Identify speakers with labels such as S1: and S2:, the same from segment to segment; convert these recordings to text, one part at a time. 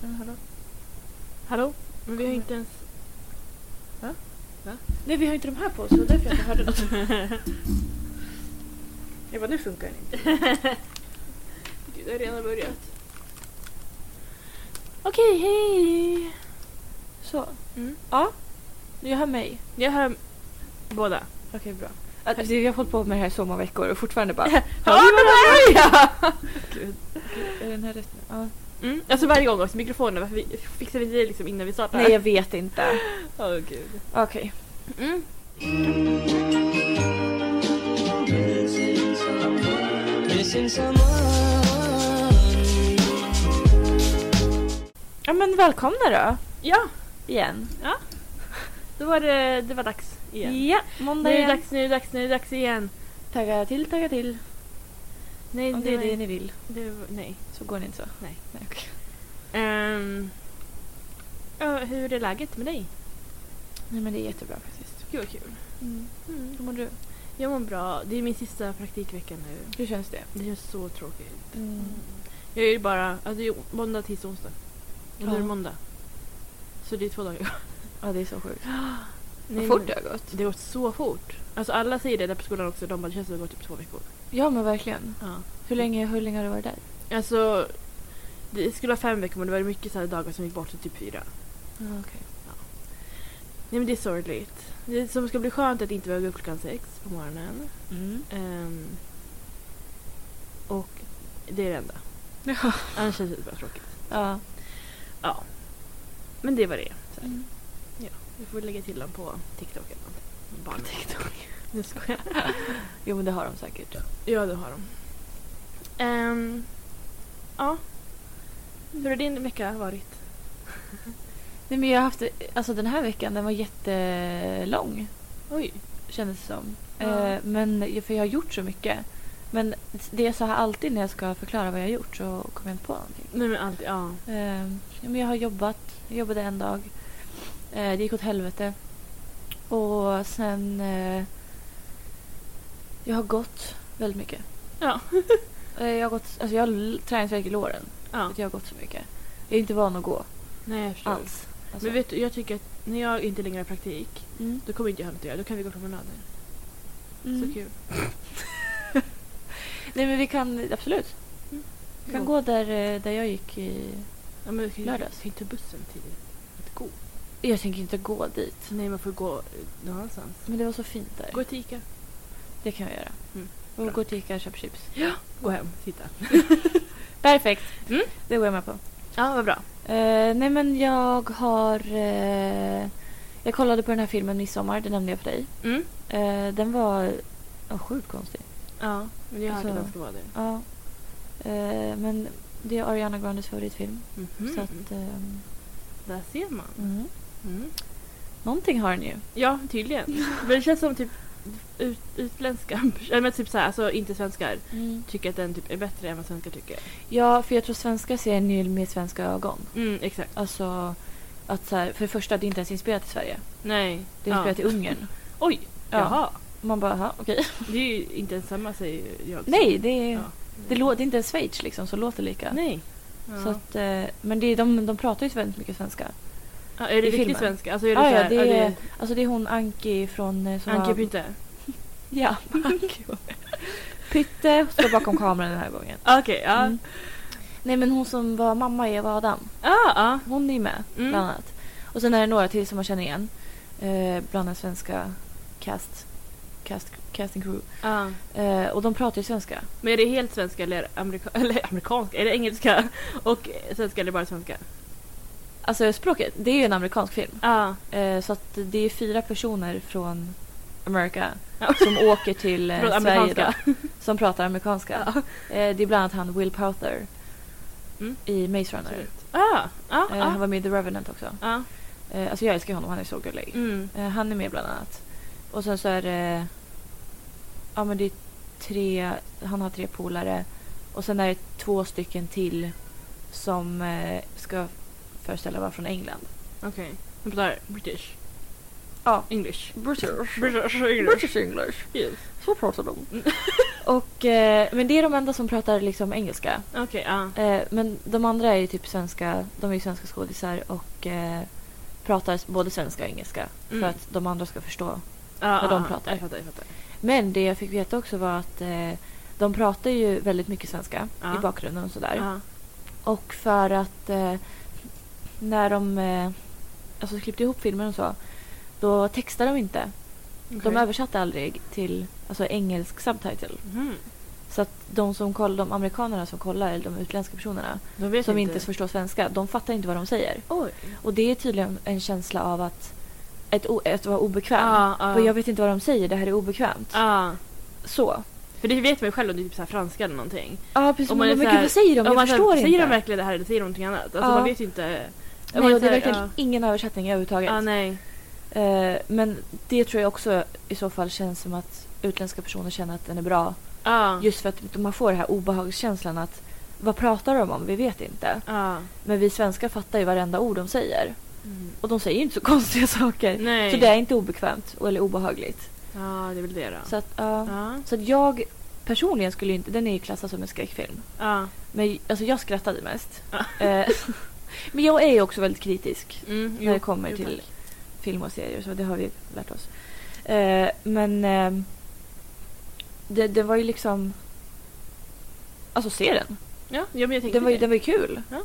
S1: Men hallå? Hallå? Men vi har
S2: Kommer.
S1: inte ens...
S2: Nej, vi har inte de här på oss. Det var därför jag inte hörde något. Jag bara, nu funkar den inte.
S1: Gud, det har redan börjat. Okej, hej!
S2: Så.
S1: Mm.
S2: Ja. Jag hör mig.
S1: Jag hör båda.
S2: Okej, bra. Att, vi har hållit på med det här i så många veckor och fortfarande bara...
S1: Hör ni mig?
S2: Är den här rätt nu? Ja.
S1: Mm. Alltså varje gång också, mikrofonen, varför vi, fixar vi det liksom innan vi startar?
S2: Nej, jag vet inte.
S1: Åh gud.
S2: Okej.
S1: Mm.
S3: Missing someone.
S2: Ja, men välkomna då.
S1: Ja,
S2: Igen.
S1: då var det, det var dags igen.
S2: Ja,
S1: Nu
S2: måndag
S1: är det
S2: igen.
S1: dags, nu är det dags, nu är det dags igen.
S2: Tagga till, tagga till.
S1: Nej,
S2: Om det är det ni vill
S1: det var- nej.
S2: så går det inte så.
S1: Nej.
S2: Nej okej.
S1: Ehm, ja, hur är läget med dig?
S2: Nej men det är jättebra faktiskt.
S1: Gud vad kul.
S2: Mm. Hur mår du?
S1: Mm. Jag mår bra. Det är min sista praktikvecka nu.
S2: Hur känns det?
S1: Det är så tråkigt.
S2: Mm.
S1: Jag är ju bara, alltså det är måndag, tisdag, onsdag. Och nu är
S2: Ja.
S1: det måndag. Så det är två dagar
S2: Ja det är så sjukt.
S1: Nej,
S2: Vad fort
S1: men-
S2: det har gått.
S1: Det har gått så fort. Alltså alla säger det där på skolan också. De bara, det känns som det har gått typ två veckor.
S2: Ja men verkligen.
S1: Ja.
S2: Hur länge, hur länge har du varit där?
S1: Alltså, det skulle vara fem veckor men det var mycket så här dagar som gick bort till typ fyra.
S2: Ja okej.
S1: Nej men det är sorgligt. Det som ska bli skönt är att inte behöva gå upp klockan sex på morgonen. Ehm, och det är det enda.
S2: Ja.
S1: Annars känns det bara tråkigt.
S2: Ja.
S1: Men det var det. Så här.
S2: Mm.
S1: Vi får lägga till dem på TikTok eller någonting. Barn TikTok. Nu skojar jag.
S2: Jo men det har de säkert.
S1: Ja, det har de. Ehm, ja. Hur har din vecka varit?
S2: Nej men jag har haft, alltså den här veckan den var jättelång
S1: Oj.
S2: kändes det som.
S1: Ja.
S2: Eh, men för jag har gjort så mycket. Men det är så här alltid när jag ska förklara vad jag har gjort så kommer jag inte på någonting.
S1: Nej men alltid, ja.
S2: Eh, ja, men jag har jobbat. Jag jobbade en dag. Eh, det gick åt helvete. Och sen... Eh, jag har gått väldigt mycket.
S1: Ja.
S2: Eh, jag har gått, alltså jag har l- träningsvärk i låren.
S1: ja.
S2: för att Jag har gått så mycket. Jag är inte van att gå
S1: Nej jag förstår.
S2: alls. Alltså.
S1: Men vet du, jag tycker att när jag inte längre har praktik,
S2: Mm.
S1: då kommer inte jag ha något att göra. Då kan vi gå promenader.
S2: Mm.
S1: Så kul.
S2: Nej men vi kan, absolut.
S1: Mm.
S2: Vi kan
S1: Ja.
S2: gå där, eh, där jag gick i...
S1: Ja, men vi kan,
S2: Lördags.
S1: Lördags. Kan ju ta bussen till att gå.
S2: Jag tänker inte gå dit.
S1: Nej, man får gå eh, någon annanstans.
S2: Men det var så fint där.
S1: Gå till Ica.
S2: Det kan vi göra.
S1: Mm,
S2: Och
S1: bra.
S2: gå till Ica och köpa chips.
S1: Gå hem, titta.
S2: Perfekt!
S1: Mm.
S2: Det går jag med på.
S1: Ja, vad bra.
S2: Eh, nej men jag har... eh, jag kollade på den här filmen Midsommar, det nämnde jag för dig.
S1: Mm.
S2: Eh, den var uh, sjukt konstig.
S1: Ja, men jag hörde
S2: Så.
S1: att den ska vara det.
S2: Ja. Eh, men det är Ariana Grandes favoritfilm.
S1: Mhm.
S2: Så att... ehm,
S1: Där ser man.
S2: mm.
S1: Mm.
S2: Någonting har den ju.
S1: Ja, tydligen. Men det känns som typ ut, utländska, eller men typ så här, alltså inte svenskar, tycker att den typ är bättre än vad svenskar tycker.
S2: Mm. Ja, för jag tror svenskar ser den ju med svenska ögon.
S1: Mm, exakt.
S2: Alltså, att så här, för det första, det är inte ens inspelat i Sverige.
S1: Nej.
S2: Det är inspelat i Ungern.
S1: Oj!
S2: Ja.
S1: Jaha.
S2: Man bara, aha, okej.
S1: Det är ju inte ens samma säger jag. också.
S2: Nej, det är,
S1: Ja.
S2: det, lå- det är inte ens Schweiz liksom, så låter lika.
S1: Nej.
S2: Så
S1: Ja.
S2: att, eh, men det är, de, de pratar ju väldigt mycket svenska.
S1: Ja, är det
S2: i
S1: riktigt
S2: filmen.
S1: svenska? Alltså är det
S2: Ja,
S1: så
S2: ja,
S1: här,
S2: det är- Alltså det är hon Anki från... eh, Som
S1: Anke
S2: var-
S1: Pytte?
S2: Ja, Anki. var med. Pytte står bakom kameran den här gången.
S1: Ah, Okej, ja.
S2: Mm. Nej men hon som var mamma i Eva Adam.
S1: Ja, Ah, ja.
S2: Hon är med
S1: Mm.
S2: bland annat. Och sen är det några till som man känner igen. Eh, bland den svenska cast, cast, casting crew.
S1: Ja.
S2: Eh, och de pratar ju svenska.
S1: Men är det helt svenska eller, amerika eller amerikanska? Är det engelska och svenska eller bara svenska?
S2: Alltså språket, det är ju en amerikansk film.
S1: Ja.
S2: Eh, så att det är fyra personer från America
S1: Ja.
S2: som åker till eh,
S1: Från
S2: Sverige då,
S1: amerikanska.
S2: som pratar amerikanska.
S1: Ja.
S2: Eh, det är bland annat han Will Pouther
S1: Mm. Ah,
S2: i Maze Runner.
S1: Ja, ja,
S2: Eh, han
S1: ja.
S2: var med i The Revenant också.
S1: Ja.
S2: Eh, alltså jag älskar honom, han är så gullig.
S1: Ah, Mm.
S2: Eh, han är med bland annat. Och sen så är det... Ja men det är tre... Han har tre polare. Och sen är det två stycken till som eh, ska föreställa vara från England.
S1: Okej. De pratar British.
S2: Ja.
S1: English.
S2: British.
S1: British English.
S2: English.
S1: Yes.
S2: Så pratar de. Och, eh, men det är de enda som pratar liksom engelska.
S1: Okej, ja.
S2: Eh, men de andra är ju typ svenska, de är ju svenska skådisar och eh, pratar s- både svenska och engelska
S1: Mm.
S2: för att de andra ska förstå.
S1: Ja,
S2: Vad
S1: ja,
S2: de
S1: ja.
S2: pratar.
S1: Jag fattar, jag fattar.
S2: Men det jag fick veta också var att eh, de pratar ju väldigt mycket svenska
S1: Ja.
S2: i bakgrunden och sådär.
S1: Ja.
S2: Och för att eh, när de eh, alltså klippte ihop filmen och så, då textade de inte.
S1: okej.
S2: De översatte aldrig till alltså, engelsk subtitle.
S1: Mhm.
S2: Så att de som kollar, de amerikanerna som kollar, eller de utländska personerna,
S1: De vet
S2: som inte förstår svenska, de fattar inte vad de säger.
S1: Oj.
S2: Och det är tydligen en känsla av att, ett, o- att vara obekväm.
S1: Ja, ja.
S2: Och jag vet inte vad de säger, det här är obekvämt.
S1: Ja.
S2: Så.
S1: För det vet man ju själv om det är typ så här franska eller någonting.
S2: Ja, precis.
S1: Om
S2: men
S1: man är så
S2: men gud,
S1: här-
S2: vad säger de?
S1: Om
S2: Jag
S1: man så här,
S2: förstår
S1: Säger de
S2: inte.
S1: verkligen det här eller säger de någonting annat? Alltså
S2: Ja.
S1: man vet ju inte. Om man
S2: Nej, och det är
S1: så här,
S2: verkligen
S1: ja.
S2: ingen översättning överhuvudtaget.
S1: Ja, nej.
S2: Eh, men det tror jag också i så fall känns som att utländska personer känner att den är bra.
S1: Ja.
S2: Just för att man får den här obehagskänslan att vad pratar de om? Vi vet inte.
S1: Ja.
S2: Men vi svenskar fattar ju varenda ord de säger.
S1: Mm.
S2: Och de säger ju inte så konstiga saker.
S1: Nej.
S2: Så det är inte obekvämt och- eller obehagligt.
S1: Ja, det är väl det då.
S2: Så att, ja.
S1: Ja.
S2: så att jag personligen skulle ju inte... Den är ju klassad som en skräckfilm.
S1: Ja.
S2: Men alltså jag skrattade mest.
S1: Ja.
S2: Eh, men jag är ju också väldigt kritisk
S1: Mm,
S2: när det kommer
S1: jo,
S2: till
S1: tack.
S2: film och serier. Så det har vi lärt oss. Eh, men eh, det, det var ju liksom... Alltså se den.
S1: Ja, ja men jag tänkte
S2: Den var, ju,
S1: det.
S2: den var ju kul.
S1: Ja.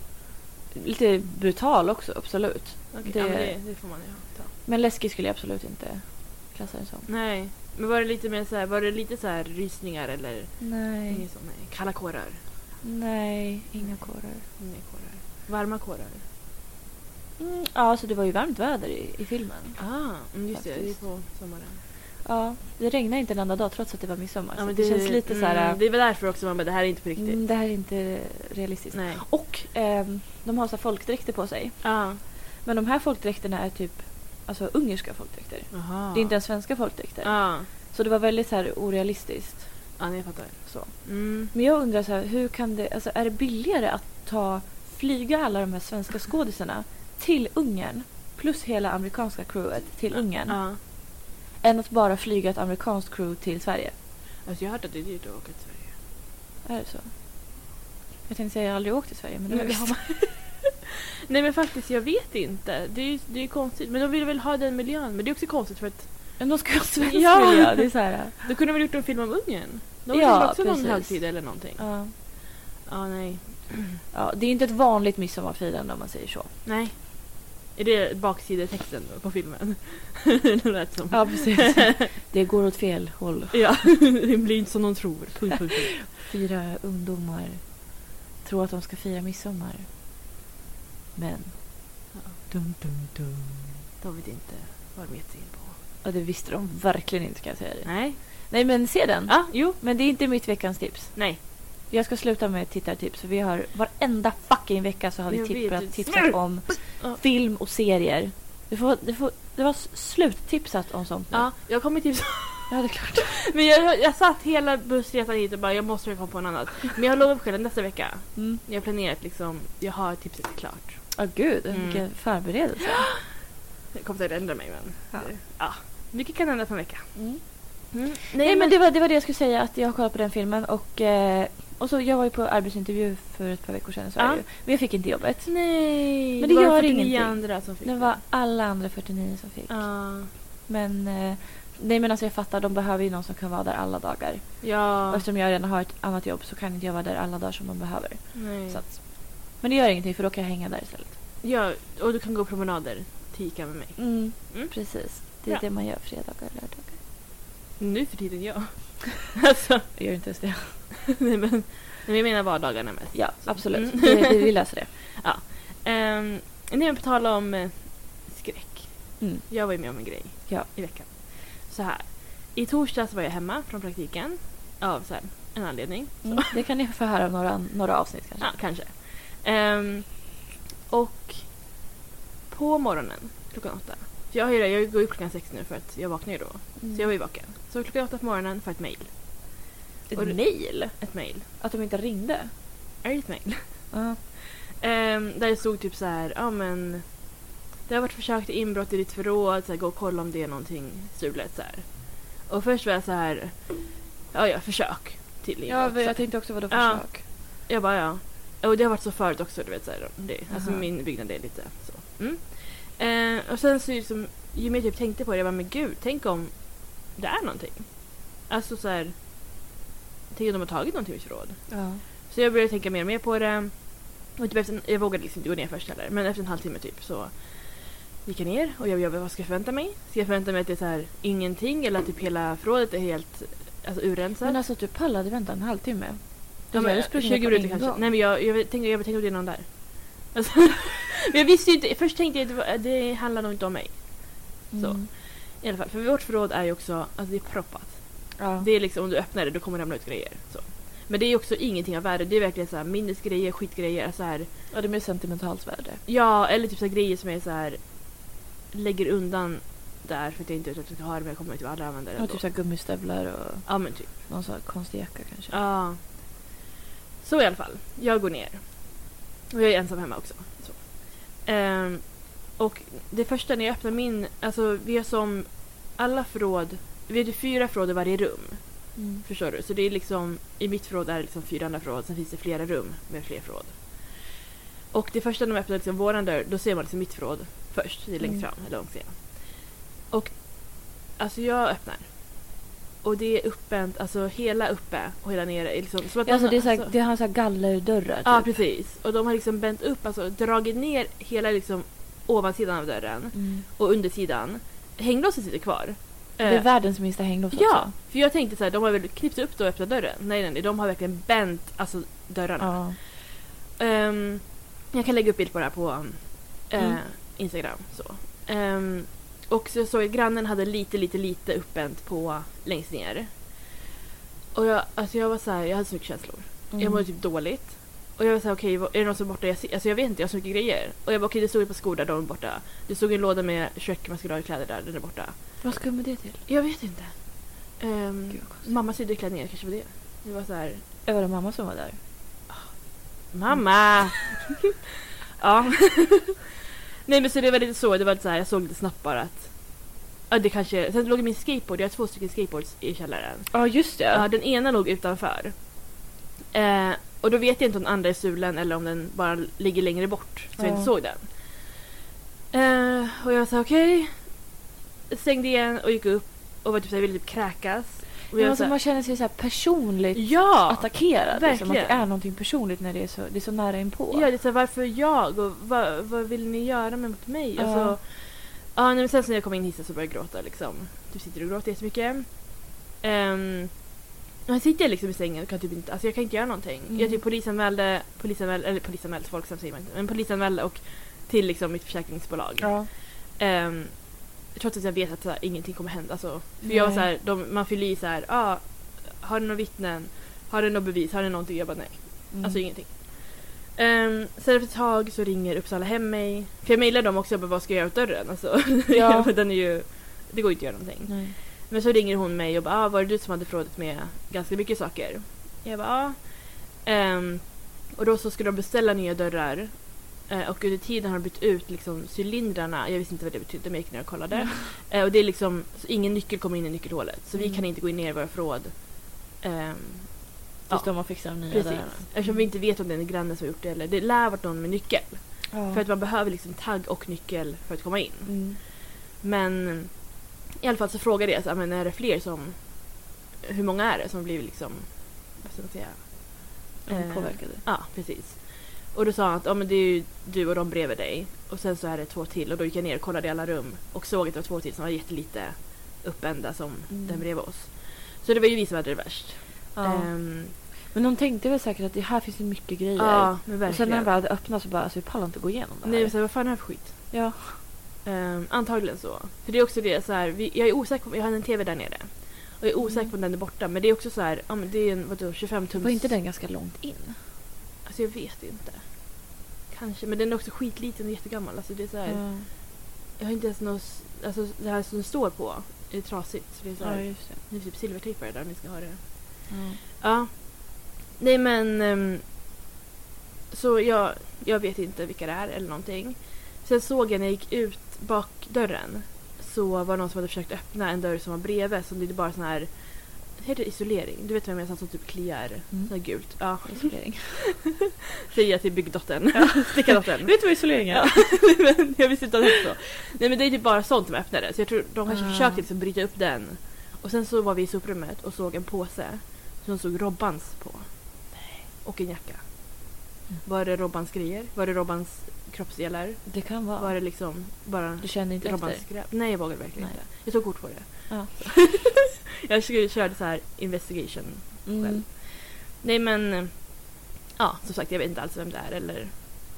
S2: Lite brutal också, absolut.
S1: Okej,
S2: det-
S1: ja, men det, det får man ju ta.
S2: Men läskig skulle jag absolut inte klassa den som.
S1: Nej. Men var det lite mer så här, var det lite så här rysningar eller?
S2: Nej,
S1: Inget sånt, nej. Kalla kårar.
S2: nej, inga kårar.
S1: Inga kårar. Varma kårar.
S2: Mm, ja, alltså det var ju varmt väder i, i filmen.
S1: Ah, mm, just det. Det är
S2: Faktiskt.
S1: på sommaren.
S2: Ja, det regnade inte en enda dag trots att det var midsommar.
S1: Ja,
S2: så
S1: men
S2: det, känns lite så här...
S1: Mm, det är väl därför också man bara, det här är inte på riktigt.
S2: mm, det här är inte realistiskt.
S1: Nej.
S2: Och ehm, de har så här folkdräkter på sig.
S1: Ja.
S2: Men de här folkdräkterna är typ alltså ungerska folkdräkter.
S1: Aha.
S2: Det är inte ens svenska folkdräkter.
S1: Ja.
S2: Så det var väldigt så här orealistiskt.
S1: Ja, nej, jag fattar.
S2: Så.
S1: Mm.
S2: Men jag undrar så här, hur kan det, alltså är det billigare att ta, flyga alla de här svenska skådisarna till Ungern plus hela amerikanska crewet till Ungern
S1: Ja.
S2: än att bara flyga ett amerikanskt crew till Sverige?
S1: Alltså, jag har hört att det är dyrt att åka till Sverige.
S2: Är det så? Jag tänkte säga jag har aldrig åkt till Sverige men det
S1: Men
S2: har man.
S1: Nej, men faktiskt, jag vet inte. Det är ju det är ju konstigt. Men de vill väl ha den miljön. Men det är också konstigt för att
S2: Men de ska ju ha svensk
S1: Ja.
S2: miljö. Det är så här,
S1: Då kunde de väl gjort en film om Ungern? De har
S2: Ja,
S1: ja, också någon
S2: precis.
S1: högtid eller någonting. Ja,
S2: ja.
S1: nej.
S2: Ja, det är inte ett vanligt midsommarfirande om man säger så.
S1: Nej. Är det baksidetexten på filmen? det lät som.
S2: Ja, precis. Det går åt fel håll.
S1: Ja, det blir inte som de tror. Punkt, punkt, punkt.
S2: Fyra ungdomar tror att de ska fira midsommar. Men dum, dum, dum.
S1: De vet inte vad de gett sig in på.
S2: Ja, det visste de verkligen inte kan jag säga dig.
S1: Nej.
S2: Nej, men se den.
S1: Ja, jo.
S2: Men det är inte mitt veckans tips.
S1: Nej.
S2: Jag ska sluta med tittartips för vi har varenda fucking vecka så har vi
S1: Jag vet,
S2: tippat,
S1: det är
S2: tipsat
S1: smart.
S2: om
S1: Ja.
S2: film och serier. Du får, du får, det var sluttipsat om sånt nu.
S1: Ja, jag kommer tipsa.
S2: ja, det är klart.
S1: Men jag, jag satt hela bussresan hit och bara jag måste komma på en annan. Men jag lovar mig själv nästa vecka.
S2: Mm.
S1: Jag har planerat liksom. Jag har tipset klart.
S2: Ja, gud.
S1: Mm.
S2: Vilken förberedelse.
S1: Jag kommer säkert ändra mig men.
S2: Ja.
S1: ja. Mycket kan hända på en vecka.
S2: Mm.
S1: Mm.
S2: Nej, men det var, det var det jag skulle säga, att jag kollade på den filmen och, eh, och så, jag var ju på arbetsintervju för ett par veckor sedan i Sverige,
S1: Ja.
S2: men jag fick inte jobbet.
S1: Nej!
S2: Men det
S1: var
S2: gör
S1: 49
S2: ingenting.
S1: andra som fick
S2: Det var alla andra 49 som fick.
S1: Ja.
S2: Men, eh, nej men alltså jag fattar, de behöver ju någon som kan vara där alla dagar. Och
S1: Ja.
S2: eftersom jag redan har ett annat jobb så kan inte jag vara där alla dagar som de behöver.
S1: Nej.
S2: Så att, men det gör ingenting för då kan jag hänga där istället.
S1: ja. Och du kan gå promenader till Ica med mig.
S2: Mm,
S1: Mm.
S2: Precis, det är
S1: Bra.
S2: det man gör fredagar och lördagar.
S1: Nu för tiden ja. alltså,
S2: Jag gör inte ens det.
S1: nej men. nej, men Jag menar vardagarna mest.
S2: Ja, absolut.
S1: Mm.
S2: Det, det, vi löser det.
S1: Um, nej men på tal om eh, skräck.
S2: Mm.
S1: Jag var ju med om en grej
S2: Ja.
S1: i veckan. Så här. I torsdags var jag hemma från praktiken. Av så här, en anledning.
S2: Mm. Det kan ni få höra av några, några avsnitt kanske.
S1: Ja, kanske. Ehm, och på morgonen klockan åtta. För jag, har ju, det- jag går ju klockan sex nu för att jag vaknar ju då.
S2: Mm.
S1: Så jag var ju vaken. Så klockan åtta på morgonen får jag ett mejl.
S2: Ett
S1: Och det-
S2: mejl?
S1: Ett mejl.
S2: Att de inte ringde?
S1: Är det ett mejl?
S2: Ja.
S1: Ehm, där det stod typ så här, ja men det har varit försök till inbrott i ditt förråd, så här, gå och kolla om det är någonting stulet. Så här. Och först var jag så här, ja ja, försök. till livet.
S2: Ja, för
S1: Så-
S2: jag typ- tänkte också vad då för
S1: Ja.
S2: sak?
S1: Jag bara ja. Och det har varit så förut också, du vet. Så här, det, alltså
S2: Aha.
S1: min byggnad är lite så. Mm. Eh, och sen så liksom, ju mer jag typ tänkte på det, jag bara men gud, tänk om det är någonting. Alltså så här, tänk om de har tagit någonting ur förråd.
S2: Ja.
S1: Så jag började tänka mer och mer på det. Och typ efter, en- jag vågade liksom inte gå ner först heller, men efter en halvtimme typ så gick jag ner och jag jobbade, vad ska jag förvänta mig? Ska jag förvänta mig att det är så här ingenting eller att typ hela förrådet är helt alltså, urrensat?
S2: Men alltså att du pallade vänta en halvtimme.
S1: Ja, men,
S2: hade sprungit
S1: 20
S2: på
S1: minuter
S2: en
S1: kanske.
S2: gång.
S1: Nej men jag, jag tänkte, jag tänkte att det är någon där. Alltså, men jag visste ju inte, först tänkte jag att det, var, det handlar nog inte om mig. så.
S2: Mm.
S1: I alla fall, för vårt förråd är ju också, alltså det är proppat.
S2: Ja.
S1: Det är liksom, om du öppnar det då kommer det ramla ut grejer. Så. Men det är ju också ingenting av värde, det är verkligen så här minnesgrejer, skitgrejer, alltså så här,
S2: ja, det är mer sentimentalt värde.
S1: ja eller typ så här grejer som jag så här lägger undan där för att jag inte vet att jag ska ha det men jag kommer typ aldrig använda det
S2: Ja,
S1: ändå.
S2: typ såhär gummistövlar och
S1: Ja men typ.
S2: någon sån här konstig jacka kanske.
S1: Ja. Så i alla fall, jag går ner. Och jag är ensam hemma också. Så. Ehm, och det första när jag öppnar min, alltså vi har som alla förråd, vi har ju fyra förråd i varje rum.
S2: Mm.
S1: Förstår du? Så det är liksom, i mitt förråd är det liksom fyra andra förråd, sen finns det flera rum med fler förråd. Och det första när man öppnar liksom våran dörr, då ser man liksom mitt förråd först, det är längst
S2: Mm.
S1: fram, eller långt sedan. Och alltså jag öppnar. Och det är uppbänt, alltså hela uppe och hela nere. är Liksom, som att
S2: Ja, alltså
S1: man-
S2: det är såhär,
S1: alltså-
S2: det har såhär gallerdörrar typ.
S1: Ja, precis. Och de har liksom bänt upp, alltså dragit ner hela liksom ovansidan av dörren
S2: Mm.
S1: och undersidan. Hänglåset sitter kvar.
S2: Det är
S1: Eh,
S2: världens minsta hänglås
S1: Ja,
S2: också.
S1: för jag tänkte så här, de har väl knippt upp det och öppnat dörren. Nej, nej, nej, de har verkligen bänt alltså, dörrarna.
S2: Ja.
S1: Ehm, jag kan lägga upp bild på det här på um, eh,
S2: Mm.
S1: Instagram. Så. Ehm, och så jag såg att grannen hade lite, lite, lite uppbänt på längst ner. Och jag, alltså jag var så här, jag hade så mycket känslor.
S2: Mm.
S1: Jag mådde typ dåligt. Och jag var såhär, okej, vad- är det någon som är borta? Jag, ser, alltså jag vet inte, jag har så mycket grejer. Och jag bara, okej, det stod ett par skor där, de är borta. Det stod en låda med köksmaskerad-kläder där, den är borta.
S2: Vad ska jag med det till?
S1: Jag vet inte. Ehm,
S2: Gud, vad konstigt.
S1: mamma sydde klänningar, kanske var det. Det var så här,
S2: Ja, Var det mamma som var där?
S1: mamma! ja. Nej men så det var lite så, det var lite så här, jag såg lite snabbt bara att... Ja det kanske, sen låg min skateboard, jag har två stycken skateboards i källaren.
S2: Ja, just det.
S1: Ja, den ena låg utanför. Eh, och då vet jag inte om den andra är stulen eller om den bara ligger längre bort så jag
S2: Ja.
S1: inte såg den. Eh, och jag sa okej. Stängde igen och gick upp och var typ såhär, ville typ kräkas. Och
S2: Men
S1: jag
S2: alltså,
S1: sa,
S2: man känner sig såhär personligt
S1: ja!
S2: attackerad. Liksom, att det
S1: verkligen.
S2: är någonting personligt när det är så, det är så nära inpå.
S1: Ja, det är så här, varför jag och vad, vad vill ni göra med mot mig?
S2: Ja.
S1: Alltså, ja, nej, men sen så när jag kom in i hissen så började jag gråta liksom. Du sitter och gråter jättemycket. Um, och här sitter jag liksom i sängen och kan typ inte, alltså jag kan inte göra någonting.
S2: Mm.
S1: Jag typ polisanmälde, polisanmälde, eller polisanmälde, folk som säger man inte, men polisanmälde och till liksom mitt försäkringsbolag.
S2: Ja.
S1: Ehm, trots att jag vet att så här, ingenting kommer hända. Alltså, för jag var
S2: Nej.
S1: så här, de, man fyller i så här, ah, har du några vittnen? Har du något bevis? Har du någonting? Jag bara nej.
S2: Mm.
S1: Alltså ingenting. Um, sen efter ett tag så ringer Uppsala hem mig. För jag mejlar dem också, jag bara, vad ska jag göra åt dörren? Alltså,
S2: Ja.
S1: för den är ju, det går ju inte att göra någonting.
S2: Nej.
S1: Men så ringer hon mig och bara, ah, var det du som hade förrådet med ganska mycket saker? Jag bara, ja. Ehm, och då så skulle de beställa nya dörrar. Eh, och under tiden har de bytt ut liksom, cylindrarna. Jag visste inte vad det betydde men jag gick ner och kollade.
S2: Mm.
S1: Eh, och det är liksom, så ingen nyckel kommer in i nyckelhålet. Så vi
S2: Mm.
S1: kan inte gå in ner i våra förråd. Ehm,
S2: Tills de har fixat de nya
S1: Precis.
S2: dörrarna.
S1: Eftersom vi inte vet om det är en granne som har gjort det eller det lär varit någon med nyckel.
S2: Ja.
S1: För att man behöver liksom tagg och nyckel för att komma in.
S2: Mm.
S1: Men i alla fall så frågade jag så, här, men är det fler som... Hur många är det som blivit liksom... Vad ska man säga?
S2: De
S1: Eh,
S2: påverkade.
S1: Ja, precis. Och då sa han att ja, men det är ju du och de bredvid dig. Och sen så är det två till. Och då gick jag ner och kollade i alla rum och såg att det var två till som var jättelite uppända som
S2: Mm.
S1: den bredvid oss. Så det var ju vi som hade det värst. Ehm,
S2: Eh, Men de tänkte väl säkert att det här finns ju mycket grejer.
S1: ja, men verkligen.
S2: och sen när de bara hade öppnat så bara, alltså vi pallar inte gå igenom det här.
S1: Nej, men så här, vad fan är det här för skit?
S2: ja.
S1: Ehm, antagligen så. För det är också det så här, vi, jag är osäker på, jag har en TV där nere. Och jag är osäker
S2: Mm.
S1: på om den är borta. Men det är också så här, ja men det är en vadå, 25 tums...
S2: Var inte den ganska långt in?
S1: Alltså jag vet inte. Kanske, men den är också skitliten och jättegammal. Alltså det är så här,
S2: Mm.
S1: jag har inte ens något, s- alltså det här som det står på är trasigt. Så det är så
S2: Ja,
S1: här,
S2: just det.
S1: det är typ silvertejp där om ni ska ha det.
S2: Ja.
S1: Ja. Nej men... ehm, så jag, jag vet inte vilka det är eller någonting. Sen såg jag när jag gick ut bakdörren så var det någon som hade försökt öppna en dörr som var bredvid som det bara sån här heter det isolering? Du vet vem jag menar som typ kliar?
S2: Mm.
S1: Så här gult. Ja,
S2: Isolering.
S1: säger jag till byggdottern. Stickardottern.
S2: Vet du vad isolering är?
S1: Men jag visste inte att det hette så. Nej men det är typ bara sånt som öppnar det. Så jag tror de kanske
S2: Ah.
S1: försökte liksom bryta upp den. Och sen så var vi i soprummet och såg en påse som såg Robbans på. Och en jacka.
S2: Mm.
S1: Var det Robbans grejer? Var det Robbans kroppsdelar?
S2: Det kan vara.
S1: Var det liksom bara
S2: Du känner inte
S1: Robbans
S2: efter?
S1: skräp? Nej jag vågade verkligen
S2: Nej.
S1: inte. Jag tog kort på det.
S2: Ja.
S1: jag skulle- körde så här investigation.
S2: Mm.
S1: själv. Nej men eh, ja som sagt jag vet inte alls vem det är eller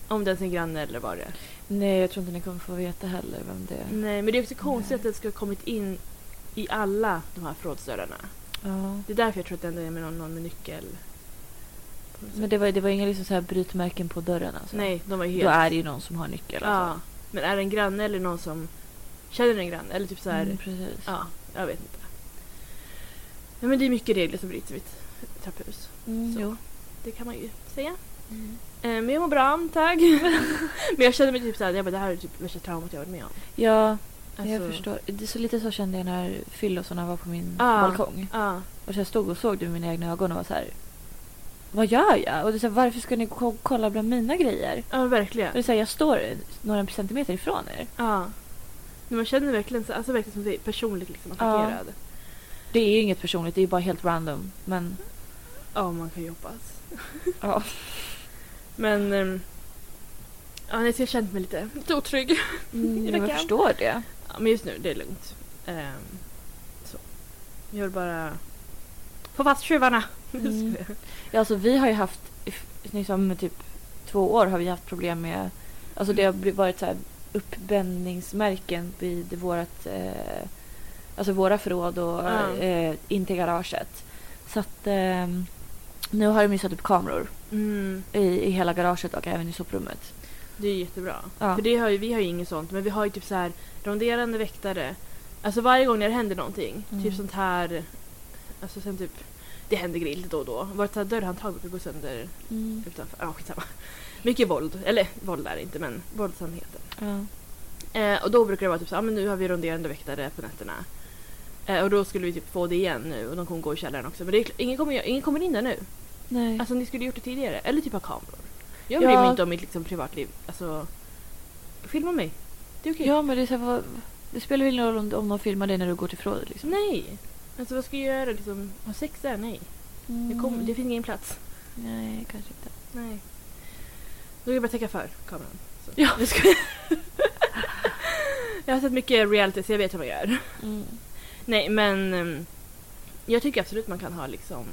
S1: om det är sin granne eller vad det är.
S2: Nej, jag tror inte ni kommer få veta heller vem det är.
S1: Nej, men det är också konstigt att den ska ha kommit in i alla de här förrådsdörrarna.
S2: Ja.
S1: Det är därför jag tror att den är med någon, någon med nyckel. På något
S2: Men
S1: sätt.
S2: det var, det var inga liksom så här brytmärken på dörren alltså?
S1: Nej, de var ju helt...
S2: Då är det ju någon som har nyckel alltså.
S1: ja. Men är det en granne eller någon som känner en granne? Eller typ så här...
S2: Mm, precis.
S1: Ja, jag vet inte. Ja, men det är mycket regler som bryts i mitt trapphus.
S2: Mm,
S1: Så.
S2: jo.
S1: Det kan man ju säga. Eh, Men jag mår bra, tack. men jag känner mig typ såhär, jag bara, det här är typ värsta traumat jag varit med om.
S2: Ja, jag
S1: Alltså,
S2: förstår. Det är så lite så kände jag när fyllosarna var på min
S1: Ja.
S2: balkong.
S1: Ja,
S2: Och så jag stod och såg det med mina egna ögon och var så här. Vad gör jag? Och det är så här, varför ska ni ko- kolla bland mina grejer?
S1: ja verkligen.
S2: Och det är så här, jag står några centimeter ifrån er.
S1: Ja. Men man känner verkligen, så- alltså verkligen som det är personligt liksom
S2: Ja.
S1: attackerad.
S2: Det är ju inget personligt, det är ju bara helt random. Men
S1: Ja, man kan ju hoppas.
S2: ja.
S1: Men... ehm, ja, nej, så jag har känt mig lite, lite otrygg.
S2: Mm,
S1: Jag
S2: jag
S1: kan.
S2: förstår det.
S1: Ja, men just nu, det är lugnt. Ehm, så. Jag vill bara få fast tjuvarna.
S2: Mm. Ja, alltså, vi har ju haft, if- liksom, typ två år har vi haft problem med, alltså det har bli- varit så här uppbändningsmärken vid vårat, eh, alltså våra förråd och
S1: Ja.
S2: eh, in till garaget. Så att eh, nu har de ju satt upp kameror
S1: Mm,
S2: i, i hela garaget och även i soprummet.
S1: det är jättebra.
S2: Ja.
S1: För det har ju, vi har ju inget sånt, men vi har ju typ så här ronderande väktare. Alltså varje gång när det händer någonting,
S2: Mm.
S1: typ sånt här... Alltså sen typ... Det händer grejer lite då och då. Vårt så här dörrhandtag brukar gå sönder
S2: Mm.
S1: utanför. Ja, skitsamma. Mycket våld. Eller våld är det inte, men våldsamheter.
S2: Ja.
S1: Eh, och då brukar det vara typ så ah, men nu har vi ronderande väktare på nätterna. Eh, och då skulle vi typ få det igen nu och de kommer gå i källaren också. Men det är, kl- ingen, kommer, ingen kommer in där nu.
S2: Mm. Nej.
S1: Alltså ni skulle gjort det tidigare. Eller typ ha kameror. Jag
S2: Ja.
S1: bryr mig inte om mitt liksom, privatliv. Alltså, filma mig. Det är okej.
S2: ja, men det, är så här, vad, det spelar väl ingen roll om, om de filmar dig när du går till förrådet liksom.
S1: Nej! Alltså vad ska jag göra? Liksom, ha sex där? Nej.
S2: Mm.
S1: Jag kommer- det finns ingen plats.
S2: Nej, kanske inte.
S1: Nej. Då är det bara att täcka för kameran. Så.
S2: Ja.
S1: Jag, skojar. jag har sett mycket reality så jag vet hur man gör.
S2: Mm.
S1: Nej men ehm, jag tycker absolut man kan ha liksom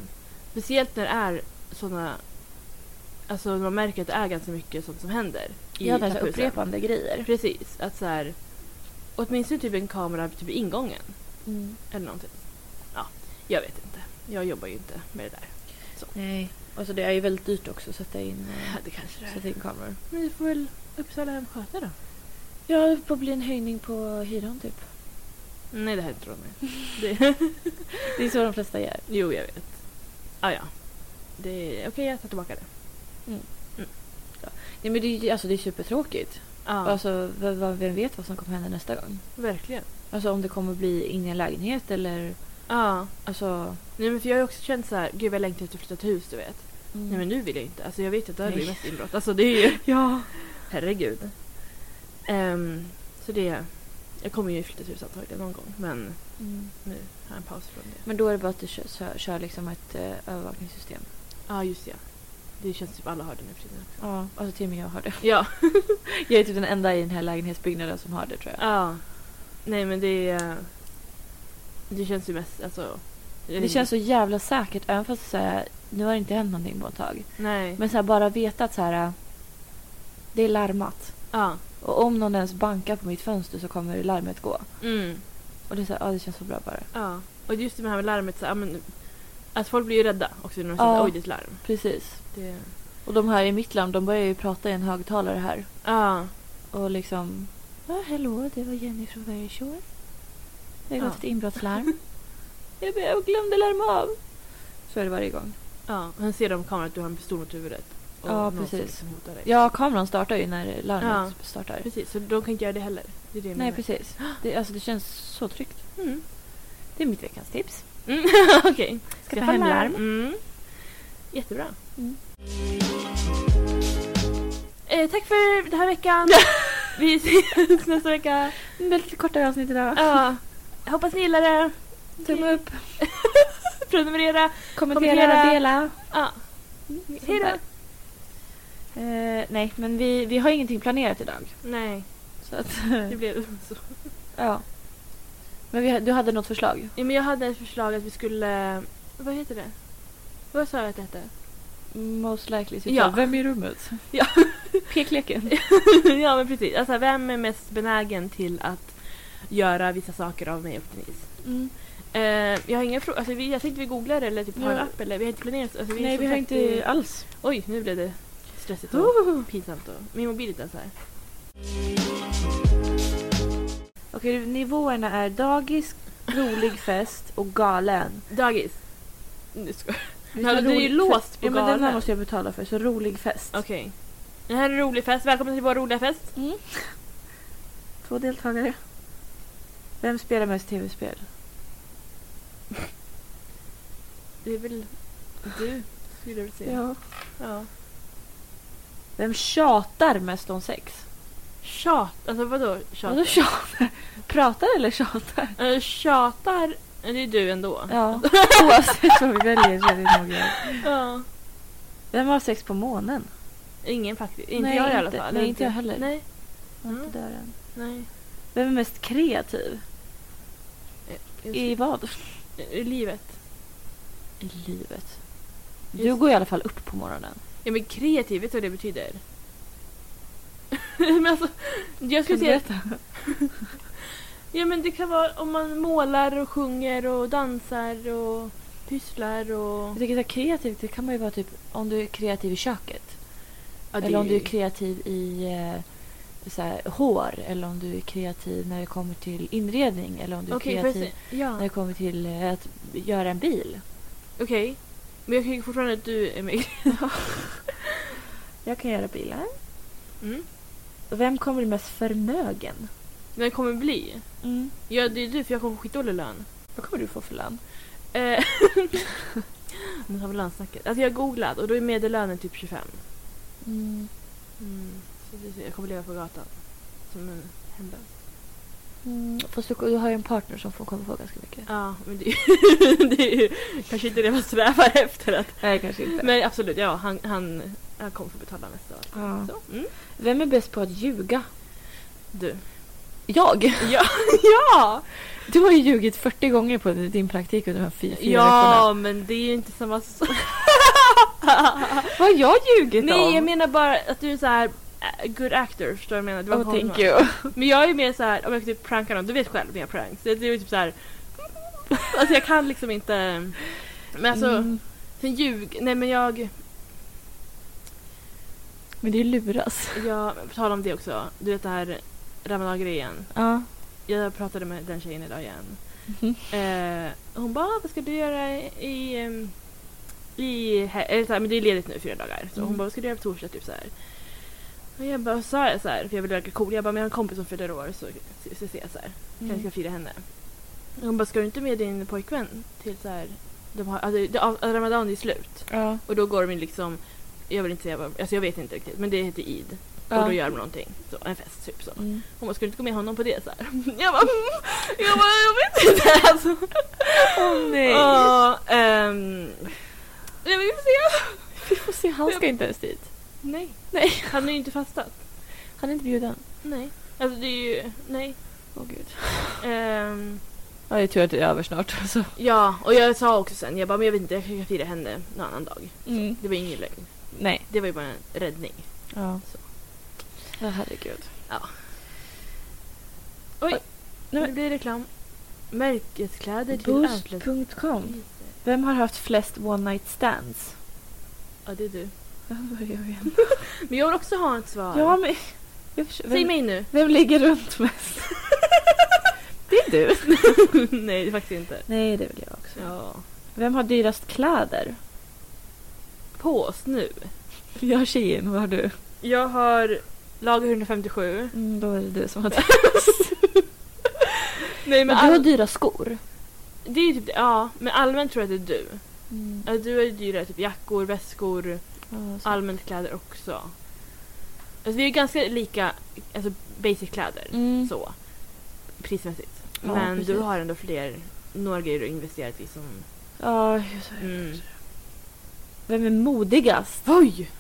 S1: speciellt när det är sådana alltså när man märker att det är ganska mycket sånt som händer i
S2: Ja, det är så här
S1: trapphusen.
S2: upprepande grejer.
S1: Precis, att så här åtminstone typ en kamera typ i ingången
S2: Mm.
S1: eller någonting. Ja, jag vet inte. Jag jobbar ju inte med det där.
S2: Nej, alltså det är ju väldigt dyrt också att sätta in, eh,
S1: Ja, det kanske det är.
S2: sätta in kameror.
S1: Men vi får väl Uppsala hem sköta då.
S2: Ja, det får bli en höjning på hyran typ.
S1: Nej, det här tror jag det.
S2: Det är så de flesta gör.
S1: Jo, jag vet. Ah, ja. Det är okej, jag tar tillbaka det.
S2: Nej men det är, ju- alltså, det är supertråkigt.
S1: Ja,
S2: Alltså, v- v- vem vet vad som kommer hända nästa gång?
S1: verkligen.
S2: Alltså om det kommer bli ingen lägenhet eller
S1: Ja.
S2: alltså...
S1: Nej, men för jag har ju också känt så här, gud jag längtar efter att flytta till hus, du vet.
S2: mm.
S1: Nej, men nu vill jag inte. Alltså jag vet att det här
S2: Nej.
S1: blir mest inbrott. Alltså det är ju,
S2: Ja.
S1: herregud. Ehm, så det, jag kommer ju flytta till hus antagligen någon gång, men
S2: Mm.
S1: nu har jag en paus från det.
S2: Men då är det bara att du kör, kör, kör liksom ett eh, övervakningssystem.
S1: Ja, just det. Det känns typ alla har det nu för tiden.
S2: Ja. Alltså till och med jag har det.
S1: Ja.
S2: Jag är typ den enda i den här lägenhetsbyggnaden som har det tror jag.
S1: Ja. Nej men det... eh, Det känns ju mest alltså...
S2: Det känns så jävla säkert även fast så här, nu har det inte hänt någonting på ett tag.
S1: Nej.
S2: Men så här, bara veta att så här, det är larmat.
S1: Ja.
S2: Och om någon ens bankar på mitt fönster så kommer larmet gå.
S1: Mm.
S2: Och det, är så här, ja, det känns så bra bara.
S1: Ja. Och just det här med larmet så... Ja, men, att folk blir ju rädda också när de
S2: Ja.
S1: känner oj det är ett larm.
S2: Precis.
S1: Det...
S2: Och de här i mitt larm, de börjar ju prata i en högtalare här.
S1: Ja.
S2: Och liksom... Ja, hallå, det var Jenny från Very Shore. Det har gått
S1: Ja.
S2: ett inbrottslarm. jag, bara, jag glömde larma av. Så är det varje gång.
S1: ja. Och sen ser de på kameran att du har en pistol mot huvudet. Och
S2: Ja,
S1: någon som
S2: precis.
S1: Liksom hotar dig.
S2: Ja, kameran startar ju när larmet
S1: Ja.
S2: startar.
S1: Precis, så de kan inte göra det heller. Det är det jag
S2: Nej,
S1: menar.
S2: precis. Det, alltså, det känns så tryggt.
S1: Mm.
S2: Det är mitt veckans tips.
S1: Mm, Okej.
S2: Skaffa hemlarm.
S1: Mm. Jättebra.
S2: Mm.
S1: Eh, tack för den här veckan. Vi ses nästa vecka.
S2: Mm, Det blir lite kortare avsnitt idag.
S1: Ja. Hoppas ni gillar det.
S2: Tumme upp,
S1: Prenumerera.
S2: kommentera,
S1: Kommentera.
S2: dela.
S1: Ja. Hej då.
S2: Eh, nej, men vi, vi har ingenting planerat idag.
S1: Nej,
S2: Så att,
S1: det blev så.
S2: ja. Men vi, du hade något förslag?
S1: Ja, men jag hade ett förslag att vi skulle... Vad heter det? Vad sa jag att det hette?
S2: Most likely.
S1: sitter- Ja.
S2: Vem i rummet?
S1: Ja.
S2: Pekleken.
S1: ja, men precis. Alltså, vem är mest benägen till att göra vissa saker av mig och Denise?
S2: Mm.
S1: Eh, jag har inga frågor. Alltså, vi- jag tänkte vi googlar eller typ har en
S2: Ja.
S1: app eller vi har inte planerat. Alltså, är
S2: Nej,
S1: som
S2: vi har
S1: sagt
S2: inte
S1: i-
S2: alls. Oh.
S1: Oj, nu blev det stressigt och pinsamt. Och... Min mobil är inte ens här.
S2: Okej, nivåerna är dagis, rolig fest och galen.
S1: Dagis. Nu ska
S2: Vi
S1: jag.
S2: tar
S1: Du är ju
S2: rolig-
S1: låst på
S2: Ja, men den här
S1: galen.
S2: måste jag betala för, så rolig fest.
S1: Okej. Det här är en rolig fest. Välkommen till vår roliga fest.
S2: Mm. Två deltagare. Vem spelar mest tv-spel?
S1: Det är väl du, skulle jag vilja säga. ja.
S2: Vem tjatar mest om sex?
S1: Tjat. Alltså vadå tjat?
S2: Vadå tjatar? Pratar eller tjatar?
S1: Eh, tjatar, det är du ändå.
S2: Ja, oavsett vad vi väljer så är det några.
S1: Ja.
S2: Vem har sex på månen?
S1: Ingen faktiskt. Inte
S2: Nej,
S1: jag i alla
S2: inte.
S1: fall.
S2: Nej, inte jag heller.
S1: Nej.
S2: Var inte
S1: Mm.
S2: där än.
S1: Nej.
S2: Vem är mest kreativ? I vad?
S1: I livet.
S2: I livet. Du
S1: Just.
S2: går i alla fall upp på morgonen.
S1: Ja men kreativ, vet du vad det betyder? men alltså, jag skulle säga... Ja men det kan vara om man målar och sjunger och dansar och pysslar och...
S2: Jag tycker så här, kreativt, det kan man ju vara typ om du är kreativ i köket.
S1: Ja, det
S2: eller om
S1: är
S2: du
S1: ju-
S2: är kreativ i eh, så här, hår. Eller om du är kreativ när det kommer till inredning. Eller om du är
S1: Okej, får jag
S2: kreativ
S1: säga?
S2: när
S1: Ja.
S2: det kommer till eh, att göra en bil.
S1: Okej. Men jag tycker fortfarande att du är med.
S2: Jag kan göra bilar.
S1: Mm.
S2: Vem kommer bli mest förmögen?
S1: Men det kommer bli.
S2: Mm.
S1: Ja det är du för jag kommer få skitdålig lön.
S2: Vad kommer du få för lön?
S1: Eh, Nu har vi lönsnacket. Alltså jag har googlat och då är medellönen typ 25.
S2: Mm.
S1: Så det- jag kommer leva på gatan. Som en hemlös.
S2: Mm. Fast du, du har ju en partner som får kommer få ganska mycket.
S1: Ja, men det är, ju, det är ju kanske inte det man strävar efter. Att,
S2: Nej, kanske
S1: men absolut, ja han, han, han kommer få betala nästa år.
S2: Ja.
S1: Så, mm.
S2: Vem är bäst på att ljuga?
S1: Du.
S2: Jag?
S1: Ja,
S2: ja! Du har ju ljugit 40 gånger på din praktik under de här fy- fyra
S1: ja men det är ju inte samma sak.
S2: veckorna. Vad har jag ljugit om?
S1: Nej, jag menar bara att du är så här a good actor, förstår du vad jag menar? Du
S2: Oh,
S1: var
S2: thank you.
S1: Men jag är mer så här, om jag typ prankar någon, du vet själv när jag pranks. Det är ju typ så här, alltså jag kan liksom inte. Men alltså,
S2: Mm.
S1: sen ljug, nej men jag,
S2: Men det är ju luras.
S1: Jag på tal om det också. Du vet det här Ramadan-grejen.
S2: Ja.
S1: Jag pratade med den tjejen idag igen. Eh, hon bara, "Ah, vad ska du göra i... ehm, i he- eller så här, men det är ledigt nu fyra dagar. Så hon
S2: Mm.
S1: bara, vad ska du göra på torsdag? Typ så här. Och jag bara, sa jag så här, för jag ville verka cool. Jag bara, men jag har en kompis som fyller år så så- så ses jag så här.
S2: Mm.
S1: Jag ska fira henne. Och Hon bara, ska du inte med din pojkvän till så här... De har, alltså, det- av- Ramadan är slut.
S2: Ja.
S1: Och då går de ju liksom... Jag vill inte säga vad... Alltså jag vet inte riktigt. Men det heter Eid.
S2: Ja.
S1: Och då gör de någonting. Så, en fest typ så.
S2: Mm.
S1: Hon bara, ska du inte gå med honom på det? Så här. Jag bara, mm. jag, bara jag vet inte. Alltså.
S2: Åh, nej.
S1: Ja, ehm, ja, vi får se.
S2: Vi får se, han ska inte ens dit.
S1: Nej.
S2: Nej.
S1: Han är ju inte fastat.
S2: Han är inte bjuden.
S1: Nej. Alltså det är ju, nej.
S2: Åh gud.
S1: Ehm,
S2: Ja, det är tur att det är över snart. Så.
S1: ja, och jag sa också sen, jag bara, men jag vet inte, jag kanske kan fira henne någon annan dag. Det var ingen lögn.
S2: Mm, Nej.
S1: Det var ju bara en räddning.
S2: Ja.
S1: Så.
S2: ja, herregud.
S1: Nu
S2: Nej, men-
S1: det blir reklam. Märkeskläder till outlet.
S2: Boost.com. Vem har haft flest one night stands?
S1: Ja, det är du.
S2: Vad gör vi igen?
S1: Men jag vill också ha ett svar.
S2: Ja, men... Jag försöker,
S1: Säg
S2: vem,
S1: mig nu.
S2: vem ligger runt mest? det är du.
S1: nej, det är faktiskt inte.
S2: Nej, det vill jag också.
S1: Ja.
S2: Vem har dyrast kläder?
S1: på oss nu.
S2: Jag har tjejen, vad har du?
S1: Jag har lager 157.
S2: Mm, då är det du som har
S1: Nej,
S2: Men du har dyra skor.
S1: det är ju typ det. Ja, men allmänt tror jag att det är du.
S2: Mm.
S1: Alltså, du har ju dyrare typ jackor, väskor,
S2: Ja, så-
S1: allmänt kläder också. Alltså vi är ju ganska lika alltså basic kläder
S2: Mm.
S1: så prismässigt.
S2: Ja,
S1: men du
S2: precis.
S1: har ändå fler, några grejer du har investerat i som...
S2: Ja,
S1: Mm.
S2: vem är modigast?
S1: Oj!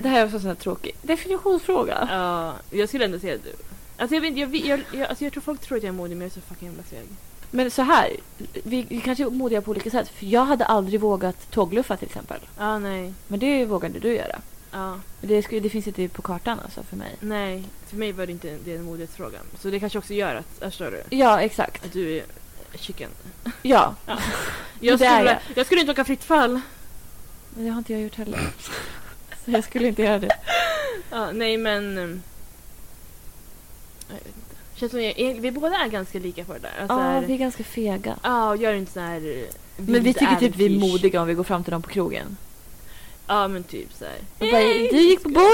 S2: Det här är också en sån här tråkig definitionsfråga.
S1: Ja, jag skulle ändå säga du. Alltså jag, vet, inte, jag, vet- jag, jag, alltså jag tror folk tror att jag är modig men jag är så fucking jävla feg.
S2: Men så här, vi, vi kanske är modiga på olika sätt. För jag hade aldrig vågat tågluffa till exempel.
S1: Ja, nej.
S2: Men det vågade du göra.
S1: Ja,
S2: Det, skulle, det finns inte på kartan alltså för mig.
S1: nej. För mig var det inte det en modighetsfråga. Så det kanske också gör att, förstår du?
S2: Ja, exakt.
S1: Att du är chicken.
S2: Ja,
S1: Jag
S2: Det är
S1: skulle,
S2: jag.
S1: jag skulle inte åka fritt fall.
S2: men det har inte jag gjort heller. Så jag skulle inte göra det.
S1: Ja, nej men... ehm, Jag vet inte. Känns som jag, egentligen- vi båda är ganska lika på det där. Alltså,
S2: Ja,
S1: här-
S2: vi är ganska fega.
S1: Ja, och gör inte sån här... eh,
S2: Men vi
S1: vilt
S2: tycker typ vi är
S1: äventyrs-
S2: modiga om vi går fram till dem på krogen.
S1: Ja, men typ så här.
S2: Och bara, du gick på Boland!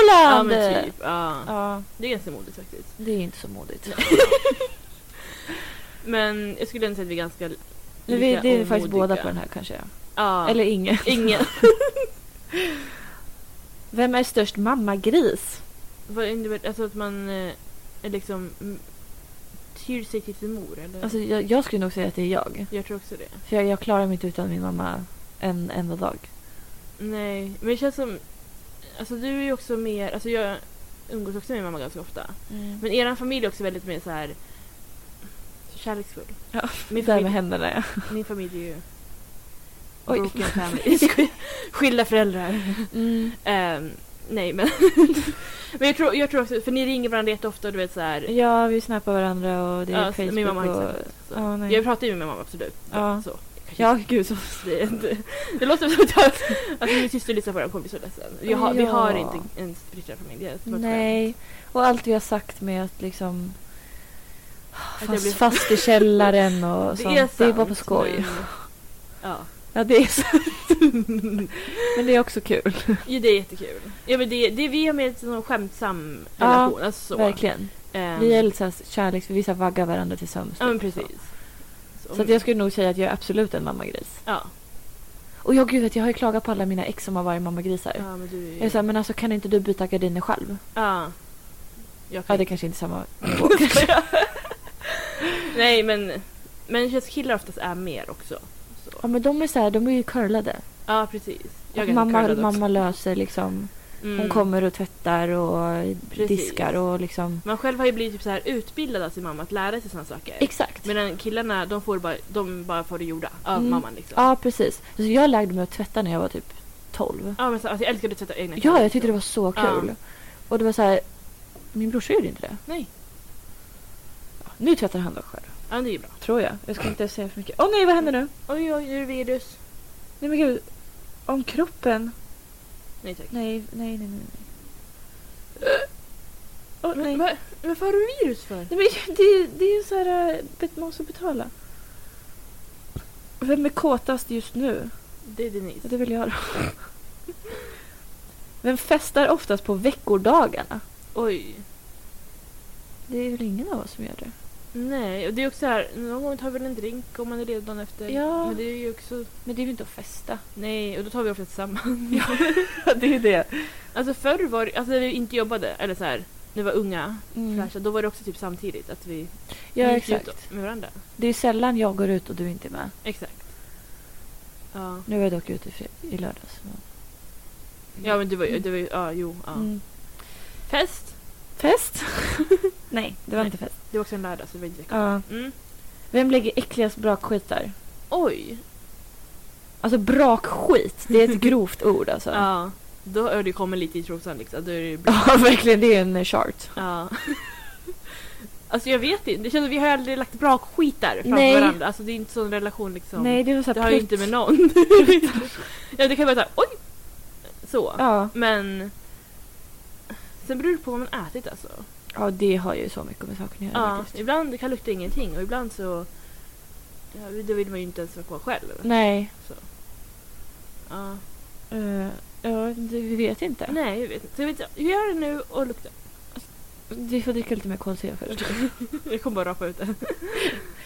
S1: Ja, men typ. Ja.
S2: Ja,
S1: Det är ganska modigt faktiskt.
S2: det är inte så modigt.
S1: Men jag skulle ändå säga att vi är ganska lika
S2: Men vi, det är
S1: och
S2: faktiskt
S1: modiga.
S2: båda på den här kanske.
S1: Ja.
S2: Eller ingen.
S1: ingen.
S2: Vem är störst mammagris?
S1: Vad innebär Alltså att man eh, är liksom mm, tyr sig till sin mor eller?
S2: Alltså, jag, jag skulle nog säga att det är jag.
S1: jag tror också det.
S2: För jag, jag klarar mig inte utan min mamma en enda dag.
S1: Nej, men det känns som... Alltså du är ju också mer... Alltså jag umgås också med mamma ganska ofta. Men er familj är också väldigt mer så här kärleksfull.
S2: Ja,
S1: min,
S2: Där med
S1: familj,
S2: händerna ja.
S1: min familj är ju
S2: Oj.
S1: broken family. Sk- Skilda föräldrar.
S2: Mm.
S1: Ehm, nej men... men jag tror, jag tror också, för ni ringer varandra jätteofta du vet så här.
S2: Ja, vi snappar varandra och det är
S1: Ja,
S2: Facebook
S1: min mamma har
S2: och...
S1: inte sagt det, så.
S2: Ja, nej.
S1: Jag pratar ju med min mamma absolut.
S2: Ja.
S1: Så. Kanske
S2: Ja, gud. Så...
S1: Det, det, det låter som att jag... Alltså min syster lyssnar på våra kompisar ledsen. Jag har, Vi
S2: Ja.
S1: har inte en splittrad familj. Det är ett skämt.
S2: Nej. Och allt vi har sagt med att liksom...
S1: jag
S2: Fast,
S1: blir-
S2: fast i källaren
S1: Det är,
S2: och
S1: sant,
S2: sånt.
S1: Mm.
S2: det är bara på skoj.
S1: Men, ja.
S2: Ja, det är sant. men det är också kul.
S1: Jo, det är jättekul. Ja, men det, det, vi har mer en skämtsam
S2: Ja,
S1: relation. alltså, så.
S2: Verkligen.
S1: Ehm,
S2: Vi är lite så här kärleks... Vi så här vaggar varandra till sömns.
S1: Ja, men
S2: typ.
S1: precis.
S2: Så att jag skulle nog säga att jag är absolut en mammagris.
S1: Ja,
S2: Och jag, gud, vet, jag har ju klagat på alla mina ex som har varit mammagrisar.
S1: ja men du
S2: Jag är såhär, men alltså kan inte du byta gardiner själv?
S1: Ja. Jag
S2: Ja,
S1: kan
S2: det kanske inte är samma...
S1: Nej, men... Men det känns killar oftast är mer också. Så.
S2: Ja, men de är så här, de är ju curlade.
S1: Ja, precis.
S2: Och
S1: är
S2: mamma,
S1: curlad också.
S2: mamma löser liksom.
S1: Mm.
S2: Hon kommer och tvättar och
S1: Precis.
S2: diskar och liksom...
S1: Man själv har ju blivit typ så här utbildad av sin mamma att lära sig sådana saker.
S2: Exakt.
S1: Medan killarna, de, får bara, de bara får det gjorda av
S2: Mm.
S1: mamman liksom.
S2: Ja, precis. Alltså, jag lärde mig att tvätta när jag var typ 12.
S1: Ja, men så, alltså, jag älskade att tvätta egna
S2: Ja, jag tyckte det var så
S1: Ja.
S2: kul. Och det var så här, min brorsa gjorde inte det.
S1: Nej.
S2: Nu tvättar han dock själv,
S1: Ja, men det är ju bra.
S2: tror jag. Jag ska inte säga för mycket. Åh nej, vad händer nu?
S1: Oj, oj, nu är det virus.
S2: Nej men gud. Om kroppen.
S1: Nej tack.
S2: Nej, nej, nej, nej. Åh Äh, nej.
S1: Men, va- varför har du virus för?
S2: Nej men det, det är ju så här, eh, bet- man måste betala. Vem är kåtast just nu?
S1: Det är
S2: Ja,
S1: Denise.
S2: det vill jag då. Vem festar oftast på veckodagarna?
S1: Oj.
S2: Det är väl ingen av oss som gör det?
S1: Nej, och det är också så här, någon gång tar vi väl en drink om man är redo dagen efter.
S2: Ja.
S1: Men det är ju också,
S2: Men det är ju inte att festa.
S1: nej, och då tar vi ofta tillsammans.
S2: det är ju det.
S1: Alltså förr var det, alltså när vi inte jobbade, eller så här, när vi var unga,
S2: Mm.
S1: fräscha, då var det också typ samtidigt att vi
S2: Ja,
S1: vi gick ut
S2: exakt.
S1: med varandra.
S2: Det är sällan jag går ut och du inte är med.
S1: Exakt. Ja,
S2: Nu var jag dock ute i, fri- i lördags. men-
S1: ja men det var ju, det var ju, ja jo, ja.
S2: Mm.
S1: Fest!
S2: Fest? Nej, det var
S1: Nej.
S2: inte fest.
S1: Det var också en lördag så det var inte veckan.
S2: Ja.
S1: Mm.
S2: Vem lägger äckligast brakskitar?
S1: Oj!
S2: Alltså brakskit, det är ett grovt ord alltså.
S1: Ja. Då har det kommit lite i trosan liksom. Då är det ju bra.
S2: Ja, verkligen. Det är en eh, chart.
S1: Ja. alltså jag vet inte. Det känns som vi har aldrig lagt bra skit där framför
S2: Nej.
S1: varandra. Alltså det är inte sån relation liksom.
S2: Nej, det är så
S1: det har ju inte med någon. ja, det kan vara såhär oj! Så.
S2: Ja.
S1: Men... Sen beror det på vad man ätit alltså.
S2: ja, det har ju så mycket med saken att göra.
S1: Ja,
S2: faktiskt.
S1: ibland det kan lukta ingenting och ibland så... Ja, då vill man ju inte ens vara kvar själv.
S2: Nej,
S1: Ja.
S2: eh, ja, det, vi vet inte.
S1: Nej, jag vet inte. Så jag vet inte. Jag gör det nu och luktar.
S2: Vi får dricka lite mer kolsyra först.
S1: Jag kommer bara rapa ut det.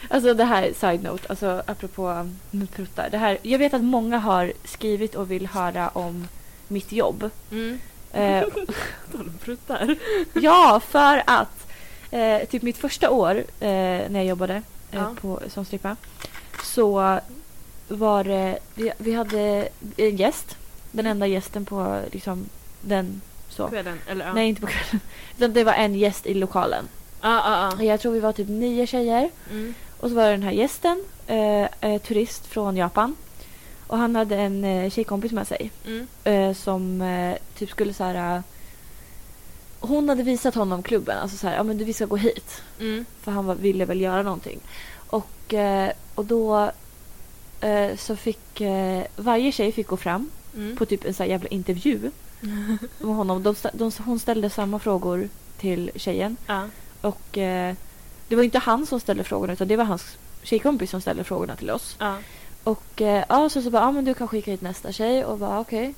S2: Alltså det här, side-note, alltså apropå mm, pruttar. Det här, jag vet att många har skrivit och vill höra om mitt jobb.
S1: Mm.
S2: Eh,
S1: Tal om pruttar.
S2: ja, för att eh, typ mitt första år eh, när jag jobbade eh,
S1: Ja.
S2: på, som strippa så var det, vi, vi hade en gäst. Den enda gästen på liksom den så.
S1: Kvällen, eller ja.
S2: Nej, inte på kvällen. Utan det var en gäst i lokalen.
S1: Ah, ah, ah.
S2: Jag tror vi var typ nio tjejer.
S1: Mm.
S2: Och så var det den här gästen, eh, eh, turist från Japan. Och han hade en eh, tjejkompis med sig
S1: Mm.
S2: eh, som eh, typ skulle så här... eh, hon hade visat honom klubben, alltså så här, ja men du vi ska gå hit.
S1: Mm.
S2: För han var, ville väl göra någonting. Och, eh, och då eh, så fick eh, varje tjej fick gå fram
S1: Mm.
S2: på typ en så här jävla intervju med honom. De, stä- de, hon ställde samma frågor till tjejen.
S1: Ja.
S2: Och eh, det var inte han som ställde frågorna utan det var hans tjejkompis som ställde frågorna till oss.
S1: Ja.
S2: Och eh, ja, så, så bara, ja men du kan skicka hit nästa tjej och bara okej.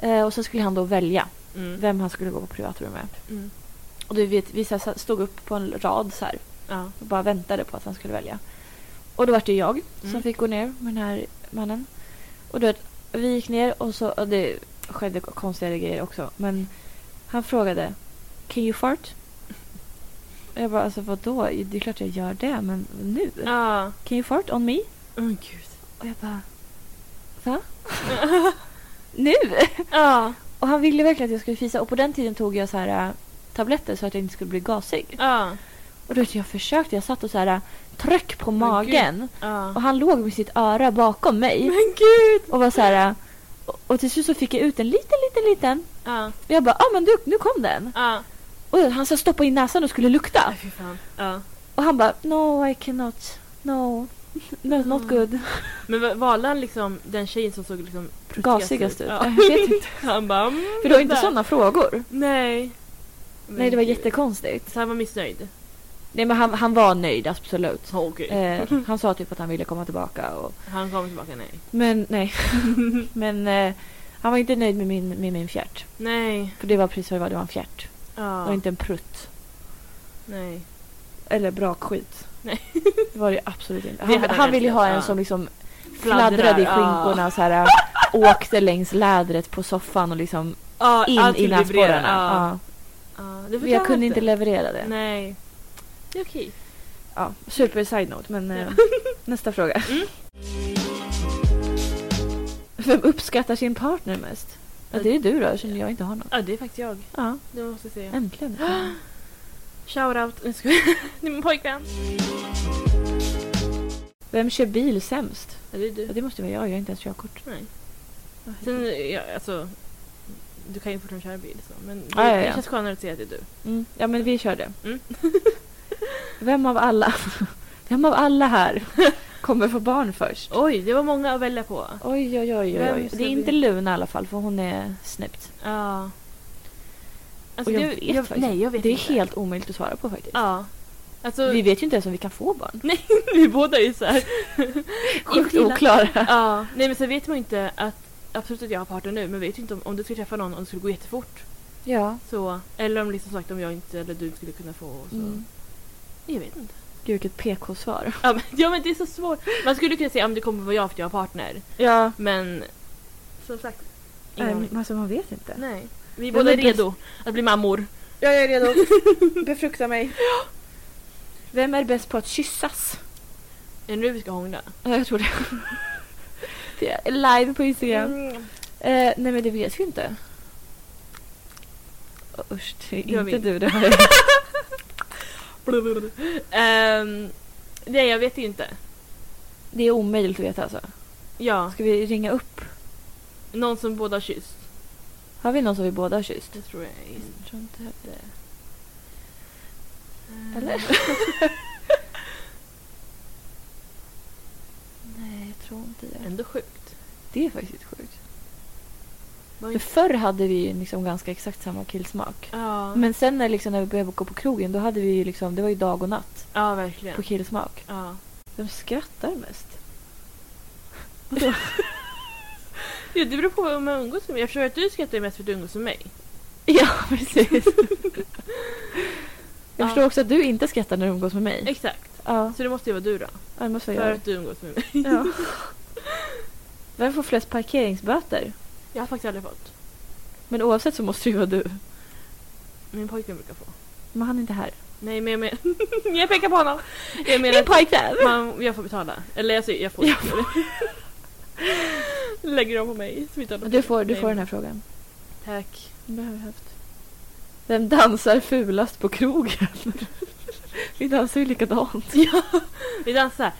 S2: Eh, och så skulle han då välja
S1: Mm.
S2: vem han skulle gå på privatrum med.
S1: Mm.
S2: Och du vet, vi så här, stod upp på en rad så här
S1: Ja.
S2: och bara väntade på att han skulle välja. Och då var det ju jag
S1: Mm.
S2: som fick gå ner med den här mannen. Och du vet, vi gick ner och så, och det skedde konstiga grejer också, men han frågade Can you fart? Och jag bara alltså vadå? Det är klart jag gör det, men nu?
S1: Ja.
S2: Can you fart on me?
S1: Åh gud.
S2: Och jag bara va? nu?
S1: Ja.
S2: Och han ville verkligen att jag skulle fisa och på den tiden tog jag så här äh, tabletter så att jag inte skulle bli gasig.
S1: Ja.
S2: Och då vet jag jag försökte, jag satt och så här äh, tryck på
S1: gud.
S2: magen. Och
S1: Ja.
S2: han låg med sitt öra bakom mig
S1: Men gud.
S2: och var så här. äh, Och, och till slut så fick jag ut en liten, liten, liten.
S1: Ja.
S2: Och jag bara, ja ah, men du, nu kom den.
S1: Ja.
S2: Och han så stoppa in näsan och skulle lukta.
S1: Nej, fy fan. Ja.
S2: Och han bara, no I cannot, no, no
S1: Mm.
S2: not good.
S1: Men va- valde han liksom den tjejen som såg liksom pruttigast
S2: Gasigast ut.
S1: Ja.
S2: Jag vet inte.
S1: Han bara mm,
S2: För det var inte
S1: där.
S2: sådana frågor.
S1: Nej. Men
S2: Nej det var
S1: gud.
S2: jättekonstigt.
S1: Så han var missnöjd?
S2: Nej men han, han var nöjd absolut.
S1: Oh, okej.
S2: Eh, han sa typ att han ville komma tillbaka. Och,
S1: Han kommer tillbaka nej.
S2: men nej. men eh, han var inte nöjd med min, med min fjärt.
S1: Nej.
S2: För det var precis vad det var, det var en fjärt. Det
S1: Ja.
S2: var inte en prutt.
S1: Nej.
S2: Eller brakskit.
S1: Nej.
S2: Det var det absolut inte.
S1: Det
S2: Han,
S1: hade
S2: han
S1: varit
S2: ville ju ha
S1: lätt,
S2: en
S1: ja.
S2: som liksom
S1: Fladdrar,
S2: fladdrade i
S1: ja.
S2: skinkorna och så här, åkte längs lädret på soffan och liksom
S1: Ja,
S2: in
S1: allt
S2: i
S1: skulle vibrera.
S2: näsborrarna.
S1: Ja.
S2: Ja.
S1: Ja, det
S2: Men
S1: förtjänar
S2: Jag kunde inte leverera det.
S1: Nej. Det är okej.
S2: Ja, super side note men eh, nästa fråga.
S1: Mm.
S2: Vem uppskattar sin partner mest? Ja, det är du då eftersom jag inte har någon.
S1: Ja, det är faktiskt jag.
S2: Ja,
S1: Det måste jag säga.
S2: äntligen.
S1: Shoutout. Nu ska jag... Det är min pojkvän.
S2: Vem kör bil sämst?
S1: Ja, det är
S2: Ja,
S1: du.
S2: det måste vara jag, jag har inte ens körkort.
S1: Nej. Sen, ja, alltså... Du kan ju fortfarande köra bil så. Men det,
S2: Ja, ja, ja.
S1: det känns skönare att säga att det är du.
S2: Mm. Ja men vi kör det.
S1: Mm.
S2: Vem av alla? Vem av alla här kommer få barn först?
S1: Oj, det var många att välja på.
S2: Oj, oj, oj. oj,
S1: Vem
S2: oj.
S1: ska
S2: Det är
S1: bli-
S2: inte Luna i alla fall för hon är snyggt.
S1: Ja. Alltså,
S2: Och jag
S1: det-
S2: vet faktiskt
S1: Nej, jag vet
S2: Det är
S1: inte.
S2: helt omöjligt att svara på faktiskt.
S1: Ja. Alltså,
S2: Vi
S1: vi,
S2: vet ju inte ens om vi kan få barn.
S1: båda är ju såhär...
S2: Sjukt oklara.
S1: Ja, nej men sen vet man ju inte att... Absolut att jag har partner nu, men vet ju inte om, om du skulle träffa någon och det skulle gå jättefort.
S2: Ja.
S1: Så, eller om liksom sagt om jag inte eller du skulle kunna få. Så.
S2: Mm.
S1: Jag vet inte.
S2: Gud vilket PK-svar.
S1: Ja men, ja men det är så svårt. Man skulle kunna säga om det kommer vara jag för att jag har partner.
S2: Ja.
S1: Men som sagt. ingen aning.
S2: Men alltså man vet inte.
S1: Nej. Vi är
S2: Men
S1: båda
S2: det-
S1: redo att bli mammor.
S2: Jag är redo. Befrukta mig. Vem är bäst på att kyssas?
S1: Är det nu vi ska hångla?
S2: Ja, jag tror det. det är live på Instagram.
S1: Mm.
S2: Eh, nej men det vet vi inte. Åh, Usch, det är
S1: Jag
S2: inte
S1: vet.
S2: du det här.
S1: Blablabla. Ehm, nej jag vet inte.
S2: Det är omöjligt att veta alltså.
S1: Ja,
S2: Ska vi ringa upp?
S1: någon som båda har kysst.
S2: Har vi någon som vi båda har kysst?
S1: Det tror jag är.
S2: Jag tror inte det.
S1: Ehm,
S2: Eller? nej, jag tror inte det.
S1: Ändå sjukt.
S2: Det är faktiskt sjukt.
S1: Var
S2: För
S1: inte-
S2: förr hade vi ju liksom ganska exakt samma killsmak.
S1: Ja.
S2: Men sen när, liksom, när vi började gå på krogen då hade vi ju liksom, det var ju dag och natt
S1: ja,
S2: på
S1: verkligen.
S2: killsmak.
S1: Ja.
S2: Vem skrattar mest?
S1: Ja, det beror på om man umgås med mig. Jag förstår att du skrattar mest för att du umgås med mig.
S2: Ja, precis.
S1: Ja.
S2: Jag förstår också att du inte skrattar när du umgås med mig.
S1: Exakt.
S2: Ja.
S1: Så det måste ju vara du då.
S2: Ja, det måste jag
S1: För
S2: göra.
S1: att du umgås med mig.
S2: Ja. Vem får flest parkeringsböter?
S1: Jag har faktiskt aldrig fått.
S2: Men oavsett så måste det ju vara du.
S1: Min pojkvän brukar få.
S2: Men han är inte här.
S1: Nej men jag menar... jag pekar på honom! Jag menar att
S2: pojkvän!
S1: man, jag får betala. Eller alltså jag får
S2: Jag
S1: Lägger dem på mig. så vi tar dem.
S2: Du får, du
S1: Nej,
S2: får den
S1: men-
S2: här frågan.
S1: Tack.
S2: Den behöver jag haft. Vem dansar fulast på krogen? Vi dansar ju likadant.
S1: Ja. Vi dansar.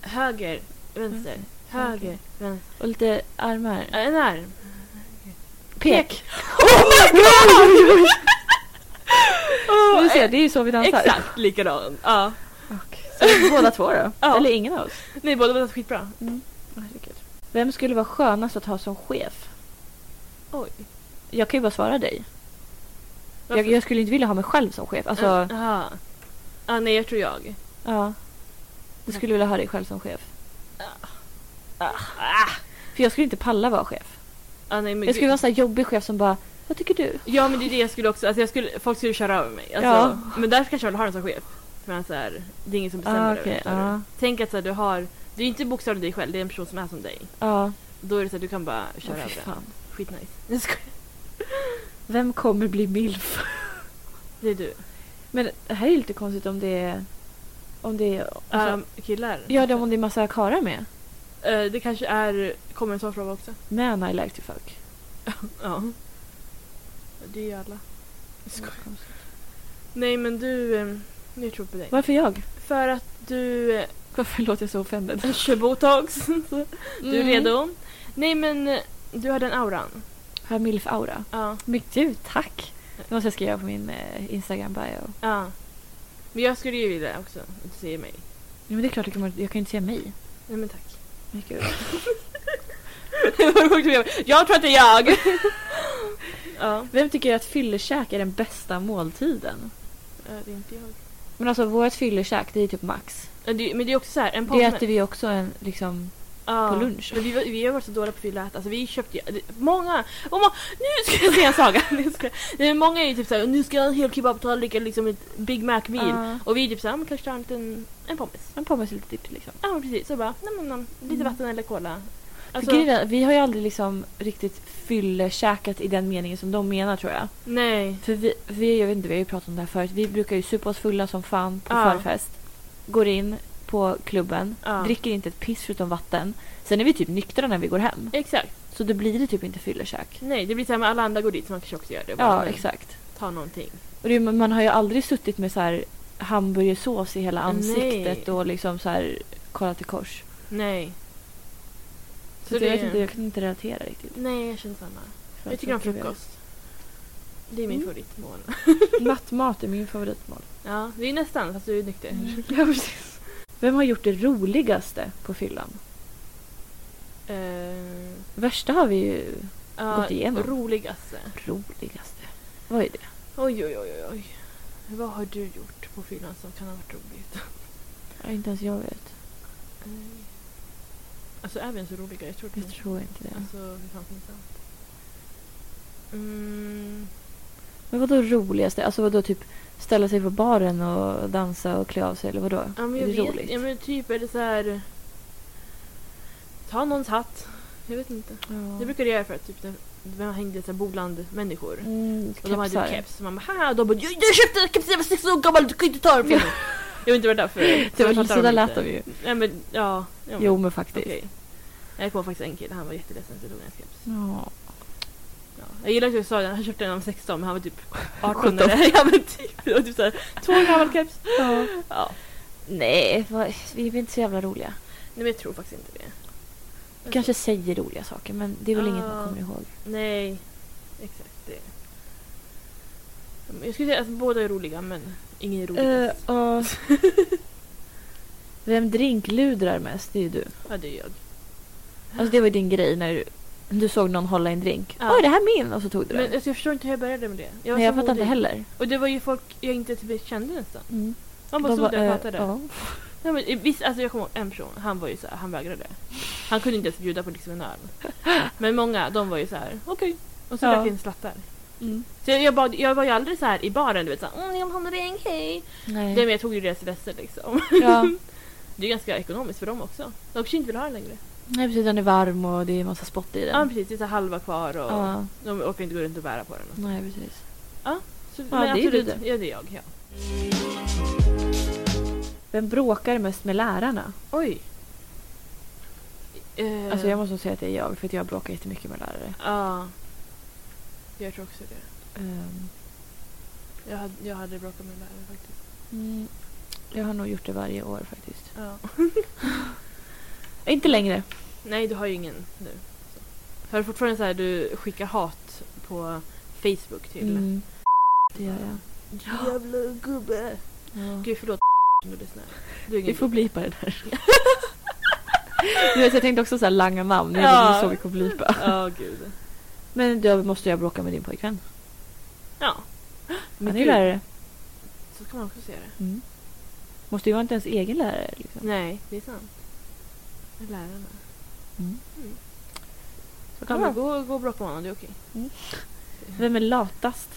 S1: Höger, vänster, höger,
S2: Mm. Okej.
S1: vänster.
S2: Och lite armar.
S1: Äh, En arm.
S2: Pek! Oh my god! Du ser, det är ju så vi dansar.
S1: Exakt likadan. Ja.
S2: Så båda två då?
S1: Ja.
S2: Eller ingen av oss?
S1: Nej båda var dansar skitbra.
S2: Herregud. Vem skulle vara skönast att ha som chef?
S1: Oj.
S2: Jag kan ju bara svara dig. Jag,
S1: Varför-
S2: jag skulle inte vilja ha mig själv som chef. Alltså,
S1: Jaha. Ja, nej jag tror jag.
S2: ja. Du skulle vilja ha dig själv som chef. Ah. För jag skulle inte palla vara chef.
S1: Ja, nej, men
S2: Jag skulle
S1: gud.
S2: vara en sån här jobbig chef som bara, vad tycker du?
S1: Ja men det är det jag skulle också, alltså jag skulle, folk skulle köra över mig. Alltså,
S2: Ja.
S1: Men därför kanske jag vill ha den som chef. För att så här, det är ingen som bestämmer
S2: Ah,
S1: över
S2: okej,
S1: förstår du?
S2: ja.
S1: Tänk att så här, du har, det är ju inte bokstavligen dig själv, det är en person som är som dig.
S2: Ja,
S1: Då är det så här, du kan bara
S2: Åh,
S1: köra
S2: fy
S1: över den.
S2: fan.
S1: Skitnice. Jag skojar.
S2: Vem kommer bli milf?
S1: Det är du.
S2: Men det här är ju lite konstigt om det är... Om det är... Alltså,
S1: Um, killar.
S2: ja, det- om det är massa karlar med.
S1: Eh, det kanske är, kommer en sån fråga också.
S2: Man I like to fuck.
S1: Ja. Det är ju alla. Jag skojar.
S2: Konstigt.
S1: Nej men du, eh, nu tror jag på dig.
S2: Varför jag?
S1: För att du eh,
S2: Varför låter jag så offended?
S1: kör botox. Du
S2: Mm.
S1: är redo? Nej men eh, du har den auran.
S2: Har jag milf-aura?
S1: Ja.
S2: Men gud, tack! Det måste jag skriva på min eh, Instagram-bio.
S1: ja. Men jag skulle ju vilja också att du säger mig.
S2: Ja, men det är klart, jag kan, jag kan ju inte säga mig.
S1: Nej men tack.
S2: Men gud.
S1: jag tror att det är jag! ja,
S2: Vem tycker att fyllekäk är den bästa måltiden?
S1: eh, det är inte jag.
S2: Men alltså, vårt fyllekäk, det är typ max.
S1: Eh, det- Men det är också så här, en
S2: Det
S1: påse...
S2: äter vi också en, liksom...
S1: Ja.
S2: på lunch.
S1: Men vi, var- vi har varit så dåliga på fylleäta. Alltså vi köpte ju... det- Många! Och må, nu ska jag säga en saga! Nu ska, nej, men många är ju typ såhär, nu ska jag ha en hel kebabtallrik eller liksom ett Big Mac-meal.
S2: Ja.
S1: Och vi är typ såhär, "Men kanske ta en liten en pommes.
S2: En pommes lite dipp liksom.
S1: Ja men precis, så bara, nej, men, någon- lite
S2: Mm.
S1: vatten eller cola.
S2: För
S1: Alltså,
S2: grejen är, vi har ju aldrig liksom riktigt fyllekäkat i den meningen som de menar tror jag.
S1: nej.
S2: För vi, vi, jag vet inte, vi har ju pratat om det här förut. Vi brukar ju supa oss fulla som fan på
S1: Ja.
S2: förfest. Går in på klubben,
S1: Ja.
S2: dricker inte ett piss förutom vatten. Sen är vi typ nyktra när vi går hem.
S1: Exakt.
S2: Så då blir det typ inte fyllekäk.
S1: Nej, det blir såhär, men alla andra går dit så man kanske också gör det. Bara,
S2: Ja,
S1: men,
S2: exakt.
S1: Ta någonting.
S2: Och det, är- man har ju aldrig suttit med så här hamburgersås i hela ansiktet och liksom så här kollat i kors.
S1: Nej.
S2: Så, det... jag vet inte, jag kan inte relatera riktigt.
S1: Nej, jag känner samma. Jag tycker om frukost. Det är min
S2: Mm.
S1: favoritmål.
S2: Nattmat är min favoritmål.
S1: Ja, det är nästan fast du är nykter.
S2: Mm. Ja, precis. Vem har gjort det roligaste på fyllan?
S1: Eh,
S2: Värsta har vi ju
S1: ja,
S2: Gått igenom.
S1: Roligaste.
S2: roligaste. Vad är det?
S1: Oj, oj, oj, oj. Vad har du gjort på fyllan som kan ha varit roligt?
S2: Ja, inte ens jag vet.
S1: Eh, Alltså är vi ens roliga? Jag tror det.
S2: Jag tror inte det.
S1: Alltså, hur fan finns det? allt? Mm,
S2: Men vad då roligaste? Alltså vad då typ ställa sig på baren och dansa och klä av sig eller vad då?
S1: ja, men
S2: är
S1: jag
S2: det
S1: vet
S2: roligt?
S1: Ja, men typ är det så här... Ta någons hatt. Jag vet inte. Det brukade jag göra för att typ, när när man hängde så här Boland-människor.
S2: Mm,
S1: Och de hade
S2: kepsar.
S1: ju keps. Så man bara "Haha", och de bara jag, jag köpte en keps när jag var sex år gammal, du kan inte ta den från mig. Jag vet inte vad det är därför.
S2: Det
S1: jag
S2: var ju
S1: fattar
S2: sådär
S1: dem
S2: lät
S1: inte.
S2: de ju.
S1: Nej men ja. ja, men,
S2: Jo men faktiskt.
S1: okej. Jag kom faktiskt en kille, han var jätteledsen så jag tog hans keps.
S2: Ja.
S1: Ja. Jag gillar att du sa det, han köpte den när han var 16 men han var typ 18 eller ja men typ. Det var typ såhär, två år gammal keps.
S2: ja.
S1: Ja.
S2: Nej, vad, vi är inte så jävla roliga.
S1: Nej men jag tror faktiskt inte det.
S2: Vi kanske säger roliga saker men det är väl inget
S1: Ja.
S2: man kommer ihåg.
S1: Nej. Exakt det. Jag skulle säga att båda är roliga men ingen är
S2: Eh,
S1: roligast.
S2: Vem drinkludrar mest? Det är ju du.
S1: Ja det är jag.
S2: Alltså det var ju din grej när du, du såg någon hålla i en drink.
S1: Ja.
S2: Oj, det här är min! Och så tog du den.
S1: Men alltså, jag förstår inte hur jag började med det. var
S2: Nej, eh, jag
S1: så
S2: fattar inte
S1: modig.
S2: heller.
S1: Och det var ju folk jag inte typ kände nästan.
S2: Mm.
S1: Han bara stod där och pratade.
S2: Ja.
S1: Nej, men, visst, alltså, jag kommer ihåg en person, han var ju så här, han vägrade. Han kunde inte ens bjuda på liksom en öl. Men många, de var ju så här, okej. Och så
S2: Ja.
S1: drack jag en slattar.
S2: Mm.
S1: Så jag, jag, bad, jag var ju aldrig så
S2: Mm.
S1: här i baren, du vet såhär, åh, jag vill ha en ring, hej.
S2: Nej.
S1: Nej men jag tog ju deras rester liksom.
S2: ja.
S1: Det är ganska ekonomiskt för dem också. De kanske inte vill ha den längre.
S2: Nej precis, den är varm och det är massa spott i den.
S1: Ja men precis, det är så här halva kvar och
S2: Ja,
S1: de orkar inte gå runt och bära på den. och så.
S2: nej precis.
S1: Så,
S2: Ja, det är ju
S1: absolut,
S2: du det.
S1: Ja, det är jag. Ja.
S2: Vem bråkar mest med lärarna?
S1: Oj. Eh,
S2: Alltså jag måste nog säga att det är jag för att jag bråkar jättemycket med lärare.
S1: Ja. Jag tror också det.
S2: Ehm,
S1: Jag hade, jag hade bråkat med lärare faktiskt.
S2: mm, jag har nog gjort det varje år faktiskt.
S1: Ja.
S2: Inte längre.
S1: Nej, du har ju ingen nu. Så. Har du fortfarande så här, du skickar hat på Facebook till...
S2: Mm. Det gör jag. Ah.
S1: Jävla gubbe!
S2: Ja.
S1: Gud, förlåt om du lyssnar. Du är ingen
S2: Vi får
S1: gubbe.
S2: blipa det där. Du vet, jag tänkte också så här langa namn. Det
S1: Ja.
S2: är så vi kommer blipa.
S1: Ja, gud.
S2: Men då måste jag bråka med din pojkvän.
S1: Ja.
S2: Han är ju
S1: gud,
S2: lärare.
S1: Så kan man också se det.
S2: Mm. Måste ju vara inte ens egen lärare. Liksom.
S1: Nej, det är sant. Med Lärarna.
S2: Mm.
S1: Mm.
S2: Så
S1: Ja,
S2: kan det
S1: men
S2: vara.
S1: gå, gå och bråka med honom, det är okej.
S2: Vem är latast?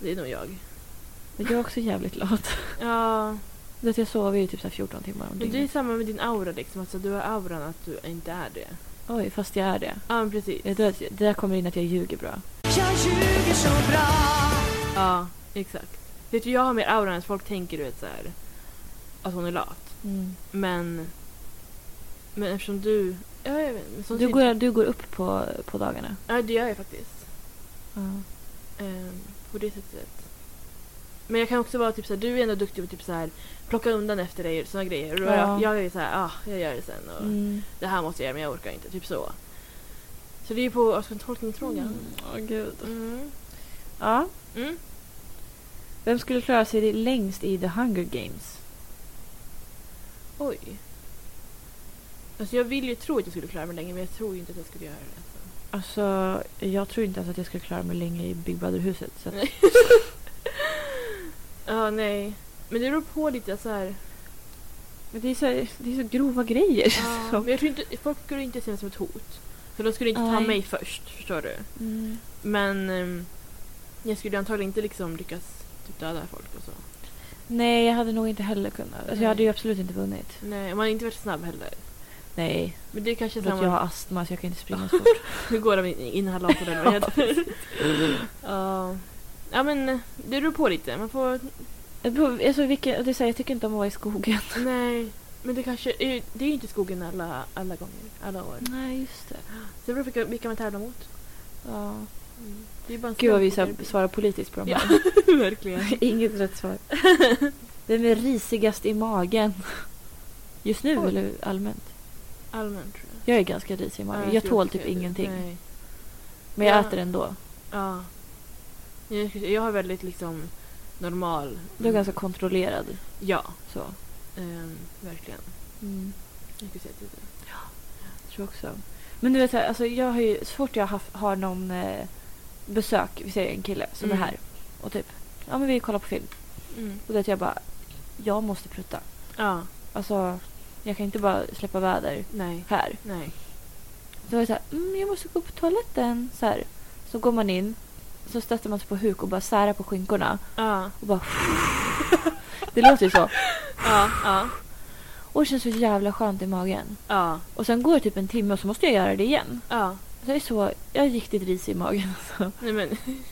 S1: Det är nog jag.
S2: Men Jag är också jävligt lat.
S1: Ja,
S2: Så att jag sover ju typ så här 14 timmar om
S1: men det är
S2: dygnet.
S1: samma med din aura liksom. Alltså, du har auran att du inte är det.
S2: Oj, fast jag är det.
S1: Ja, men precis.
S2: Det där- det där kommer in att jag ljuger bra.
S1: Ja, exakt. Vet du, jag har mer aura än att folk tänker du vet så här att hon är lat. Men, men eftersom du... Ja, jag vet, men sånt
S2: Du,
S1: är-
S2: går, du går upp på, på dagarna.
S1: Ja, det gör jag faktiskt. Ehm, på det sättet. Men jag kan också vara typ såhär, du är ändå duktig på att typ såhär, plocka undan efter dig och såna grejer. Och då är
S2: Ja.
S1: jag, jag är såhär, ah, jag gör det sen och
S2: Mm.
S1: det här måste jag göra men jag orkar inte. Typ så. Så det är ju på Oskar tolkningsfrågan.
S2: gud.
S1: Mm.
S2: Ja.
S1: Mm.
S2: Vem skulle klara sig längst i The Hunger Games?
S1: Oj. Alltså jag vill ju tro att jag skulle klara mig länge men jag tror ju inte att jag skulle göra det. Alltså.
S2: Alltså, jag tror inte ens att jag skulle klara mig längre i Big Brother-huset. Så att,
S1: Nej. Ja, nej. Men det beror på lite så här.
S2: men det, är så, det är så grova grejer. liksom.
S1: Ja, men jag tror inte, folk skulle inte se mig som ett hot. Så de skulle inte ta
S2: Nej.
S1: mig först, förstår du? Men ehm, jag skulle antagligen inte liksom lyckas typ döda folk och så.
S2: Nej, jag hade nog inte heller kunnat. Alltså, jag hade ju absolut inte vunnit.
S1: Nej, och man har inte varit snabb heller.
S2: Nej,
S1: Men det är kanske
S2: för
S1: är
S2: att jag
S1: samma...
S2: har astma så jag kan inte springa så fort.
S1: Hur går det med inhalatorn eller vad det heter? Ja. Ja men det beror på lite. Man får...
S2: Det beror- alltså, vilken, det är så här, jag tycker inte om att vara i skogen.
S1: Nej. Men det kanske... Det är ju inte skogen alla, alla gånger. Alla år.
S2: Nej, just det.
S1: Så det beror på vilka- vilka man tävlar mot.
S2: Ja.
S1: Det är bara en
S2: Mm. Gud vad vi så
S1: slump.
S2: här, svarar politiskt på de
S1: Ja,
S2: här.
S1: verkligen.
S2: Inget rätt svar. Vem är risigast i magen? Just nu
S1: Oj.
S2: eller allmänt?
S1: Allmänt tror jag.
S2: Jag är ganska risig i magen.
S1: Ja,
S2: jag
S1: tror
S2: tål
S1: också
S2: typ
S1: det.
S2: ingenting.
S1: Nej.
S2: Men jag
S1: Ja.
S2: äter ändå.
S1: Ja. Jag, skulle- jag har väldigt liksom normal... Mm.
S2: Du är ganska kontrollerad.
S1: Ja,
S2: Så.
S1: ehm, verkligen. Mm. Jag skulle säga att det är det.
S2: Jag tror också. Men du vet, så här, alltså, jag har ju, så fort jag har, har någon eh, besök, vi säger en kille som
S1: Mm.
S2: är här och typ, ja men vi kollar på film. Och då vet jag bara, jag måste prutta.
S1: Ja,
S2: Alltså, jag kan inte bara släppa väder
S1: nej,
S2: här.
S1: nej.
S2: Då var det så här, mm, jag måste gå på toaletten. Så, här. så går man in, så stöter man sig på huk och bara särar på skinkorna.
S1: Ja,
S2: Och bara... det låter ju så.
S1: ja, ja.
S2: Och det känns så jävla skönt i magen.
S1: ja,
S2: Och sen går det typ en timme och så måste jag göra det igen.
S1: ja.
S2: Så jag är så, jag är riktigt risig i magen. Alltså.
S1: Nej men...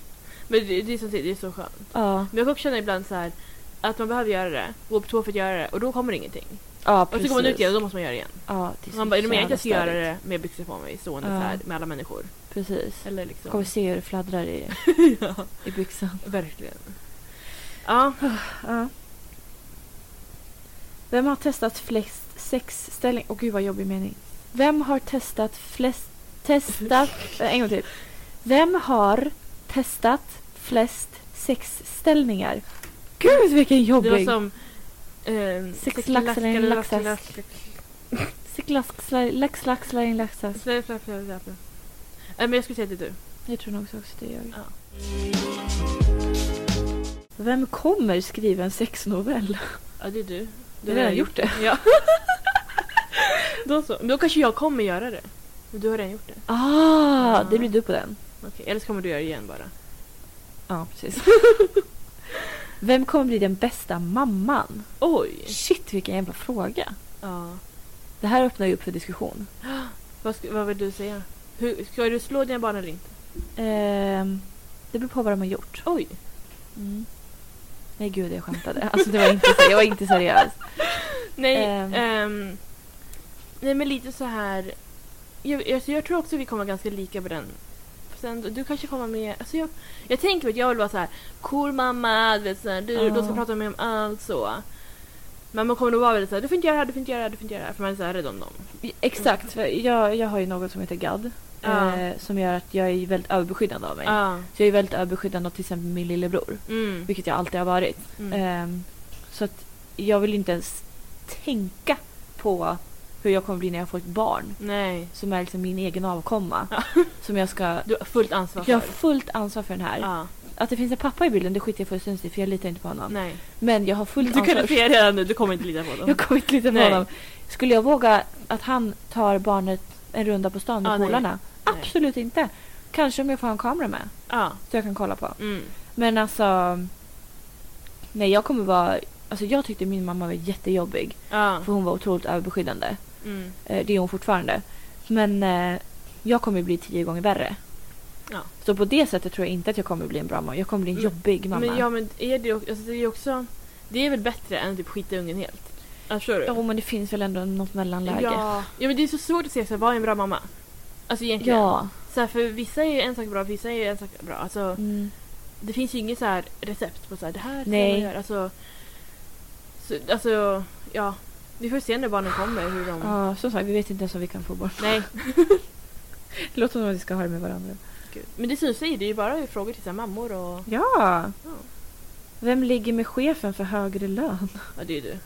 S1: men det, det, är som, sagt, det är så skönt.
S2: Ja,
S1: Men jag kan också känna ibland så här att man behöver göra det, gå på tå för att göra det och då kommer det ingenting.
S2: ja
S1: Och
S2: precis.
S1: så går man ut igen och då måste man göra det igen.
S2: Ja, det är
S1: Man
S2: så
S1: bara, är du med att
S2: jävla
S1: jag ska göra
S2: störigt.
S1: det med byxor på mig stående
S2: Ja.
S1: så här med alla människor?
S2: Precis.
S1: Eller
S2: Jag kommer
S1: liksom...
S2: se hur det fladdrar i,
S1: ja,
S2: i byxan.
S1: verkligen. Ja,
S2: Ah, Ja. Vem har testat flest sexställningar? Åh gud vad jobbig mening. Vem har testat flest... Testat... eh, en gång till. Vem har testat flest sexställningar? Gud vilken
S1: det var
S2: jobbig!
S1: som... ehm,
S2: Sex laxar i en
S1: lax-
S2: laxask.
S1: lax- lax-
S2: Sick, lask, slaj- lax, lax, slaj, laxas.
S1: Slä, slä, slä, slä, slä. Nej, men jag skulle säga att det är du.
S2: Jag tror nog också att det är jag.
S1: Ja.
S2: Vem kommer skriva en sexnovell?
S1: Ja, det är du.
S2: Du har redan gjort det.
S1: Ja. då så. Men då kanske jag kommer göra det. Men du har redan gjort det.
S2: Ah,
S1: Ja.
S2: det blir du på den.
S1: Okej, Eller så kommer du göra det igen bara.
S2: Ja, precis. Vem kommer bli den bästa mamman?
S1: Oj!
S2: Shit, vilken jävla fråga.
S1: Ja.
S2: Det här öppnar ju upp för diskussion.
S1: Vad, sk- vad vill du säga? Hur, ska du slå dina barn eller inte?
S2: Ehm, det beror på vad de har gjort. Mm.
S1: Oj!
S2: Nej gud, jag skämtade. Alltså, det var inte, ser- jag var inte seriös.
S1: Nej,
S2: Ehm.
S1: ehm, nej men lite så här... Jag, alltså jag tror också vi kommer ganska lika på den. Fast ändå, du kanske kommer med... Alltså jag, jag tänker att jag vill vara så här cool mamma, du vet så här, du,
S2: Ja.
S1: de ska prata med mig om allt så. Men man kommer nog vara väldigt såhär, du får inte göra det här, du får inte göra det här, du får inte göra det här. För man är så här rädd om dem.
S2: Exakt, för jag, jag har ju något som heter GAD.
S1: Ja.
S2: Eh, som gör att jag är väldigt överbeskyddande av mig.
S1: Ja.
S2: Så jag är väldigt överbeskyddande av till exempel min lillebror.
S1: Mm.
S2: Vilket jag alltid har varit.
S1: Mm.
S2: Ehm, så att jag vill inte ens tänka på hur jag kommer bli när jag får ett barn.
S1: Nej.
S2: Som är liksom min egen avkomma. Som jag ska...
S1: Du har fullt ansvar för.
S2: Jag har fullt ansvar för den här.
S1: Ja.
S2: Att det finns en pappa i bilden det skiter jag fullständigt i för jag litar inte på honom.
S1: Nej.
S2: Men jag har fullt
S1: Du kan
S2: ansvar.
S1: säga redan nu, du kommer inte lita på dem.
S2: Jag kommer inte lita på
S1: Nej.
S2: honom. Skulle jag våga att han tar barnet en runda på stan med
S1: Ja, nej.
S2: polarna?
S1: Nej.
S2: Absolut inte. Kanske om jag får ha en kamera med
S1: Ja.
S2: så jag kan kolla på.
S1: Mm.
S2: Men alltså... Nej, jag kommer vara... Alltså jag tyckte min mamma var jättejobbig
S1: Ja.
S2: för hon var otroligt överbeskyddande.
S1: Mm.
S2: Eh, Det är hon fortfarande. Men eh, jag kommer bli tio gånger värre.
S1: Ja. Mm.
S2: Så på det sättet tror jag inte att jag kommer bli en bra mamma. Jag kommer bli en
S1: Men-
S2: jobbig mamma.
S1: Men ja, men är det, ju- alltså, det är ju också... Det är väl bättre än att typ skita i ungen helt? Ja, Förstår du?
S2: Ja, men det finns väl ändå något mellanläge.
S1: ja. ja, men det är så svårt att se så här, vad är en bra mamma? Alltså egentligen.
S2: Ja.
S1: Så här, för vissa är ju en sak bra, för vissa är ju en sak bra. Alltså,
S2: Mm.
S1: det finns ju inget så här recept på så här, det här ska
S2: Nej.
S1: man göra. Alltså, så, alltså, ja. Vi får se när barnen kommer hur de...
S2: ja, som sagt, vi vet inte ens om vi kan få barn.
S1: Nej,
S2: Det låter som att vi ska ha det med varandra.
S1: gud. Men det syns ju, det är ju bara frågor till så här, mammor och...
S2: Ja!
S1: Ja.
S2: Vem ligger med chefen för högre lön?
S1: Ja, det är ju du.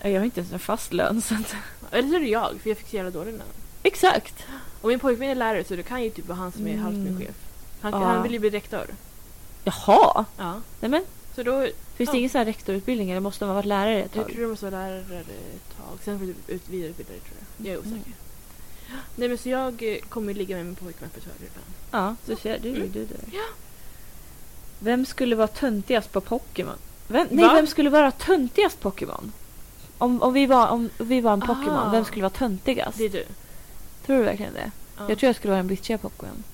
S2: Jag har inte ens en fast lön. Så att...
S1: Eller så är det jag, för jag fick så jävla dålig lön.
S2: Exakt!
S1: Och min pojkvän är lärare så det kan ju typ vara han som är halvt min
S2: Mm.
S1: chef. Han,
S2: Ja.
S1: han vill ju bli rektor.
S2: Jaha!
S1: Ja.
S2: Nej men,
S1: Så då,
S2: finns det
S1: Ja.
S2: ingen sån här rektorutbildning eller måste man ha varit lärare ett
S1: jag
S2: tag?
S1: tror du måste vara lärare ett tag. Sen får du ut vidareutbildare tror jag. Jag är osäker.
S2: Mm.
S1: Nej men så jag eh, kommer ligga med min pojkvän på ett högre plan.
S2: Ja, du ser. Du, du,
S1: Mm.
S2: du. Vem skulle vara töntigast på Pokémon? Vem, nej,
S1: Va?
S2: vem skulle vara töntigast Pokémon? Om, om, vi var, om vi var en
S1: Ah.
S2: Pokémon, vem skulle vara töntigast?
S1: Det är du.
S2: Tror du verkligen det?
S1: Ja.
S2: Jag tror jag skulle vara den bitchiga Pokémon.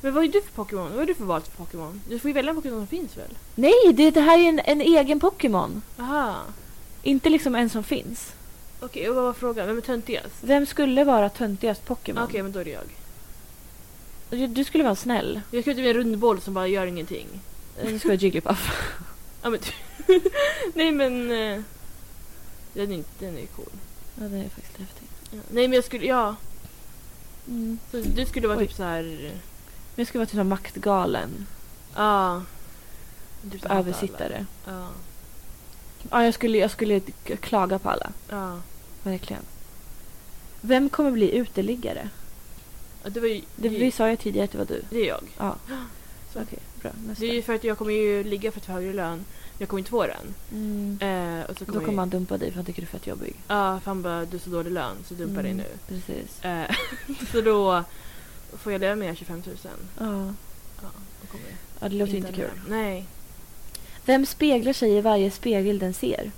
S1: Men vad är du för Pokémon? Vad är du för valt för Pokémon? Du får ju välja en Pokémon som finns väl?
S2: Nej, det, det här är en, en egen Pokémon.
S1: Aha.
S2: Inte liksom en som finns.
S1: Okej, och vad var frågan? Vem är töntigast? Ah,
S2: Vem skulle vara töntigast Pokémon?
S1: Okej, men då är det jag.
S2: Du, du skulle vara snäll. Eh,
S1: Jag skulle inte bli en rundboll som bara gör ingenting.
S2: Du skulle vara Jigglypuff.
S1: Ja, men Nej men... eh, Den är, inte- den är cool.
S2: ja, det är faktiskt häftigt.
S1: Ja. Nej men jag skulle, ja.
S2: Mm.
S1: Så du skulle vara
S2: Oj.
S1: typ så här...
S2: Men jag skulle vara typ en maktgalen
S1: Ja.
S2: Typ
S1: Du som
S2: översittare.
S1: hatar alla.
S2: Ja, jag skulle, jag skulle k- klaga på alla.
S1: Ja.
S2: Verkligen. Vem kommer bli uteliggare?
S1: ja. Det var ju...
S2: Det vi sa ju tidigare att det var du.
S1: det är jag.
S2: Ja.
S1: Så.
S2: Okej, bra. Nästa.
S1: Det är ju för att jag kommer ju ligga för ett högre lön. Jag kommer inte få den.
S2: Mm.
S1: Eh, och så
S2: Då
S1: kommer
S2: kommer
S1: jag-
S2: han dumpa dig för han tycker du är fett jobbig.
S1: Ja, för han bara du har så dålig lön så dumpa dig
S2: Mm.
S1: nu.
S2: Precis.
S1: Eh, så då får jag leva med 25 000.
S2: Ja.
S1: Ja, då kommer jag
S2: ja, det låter inte kul.
S1: hem. Nej.
S2: Vem speglar sig i varje spegel den ser?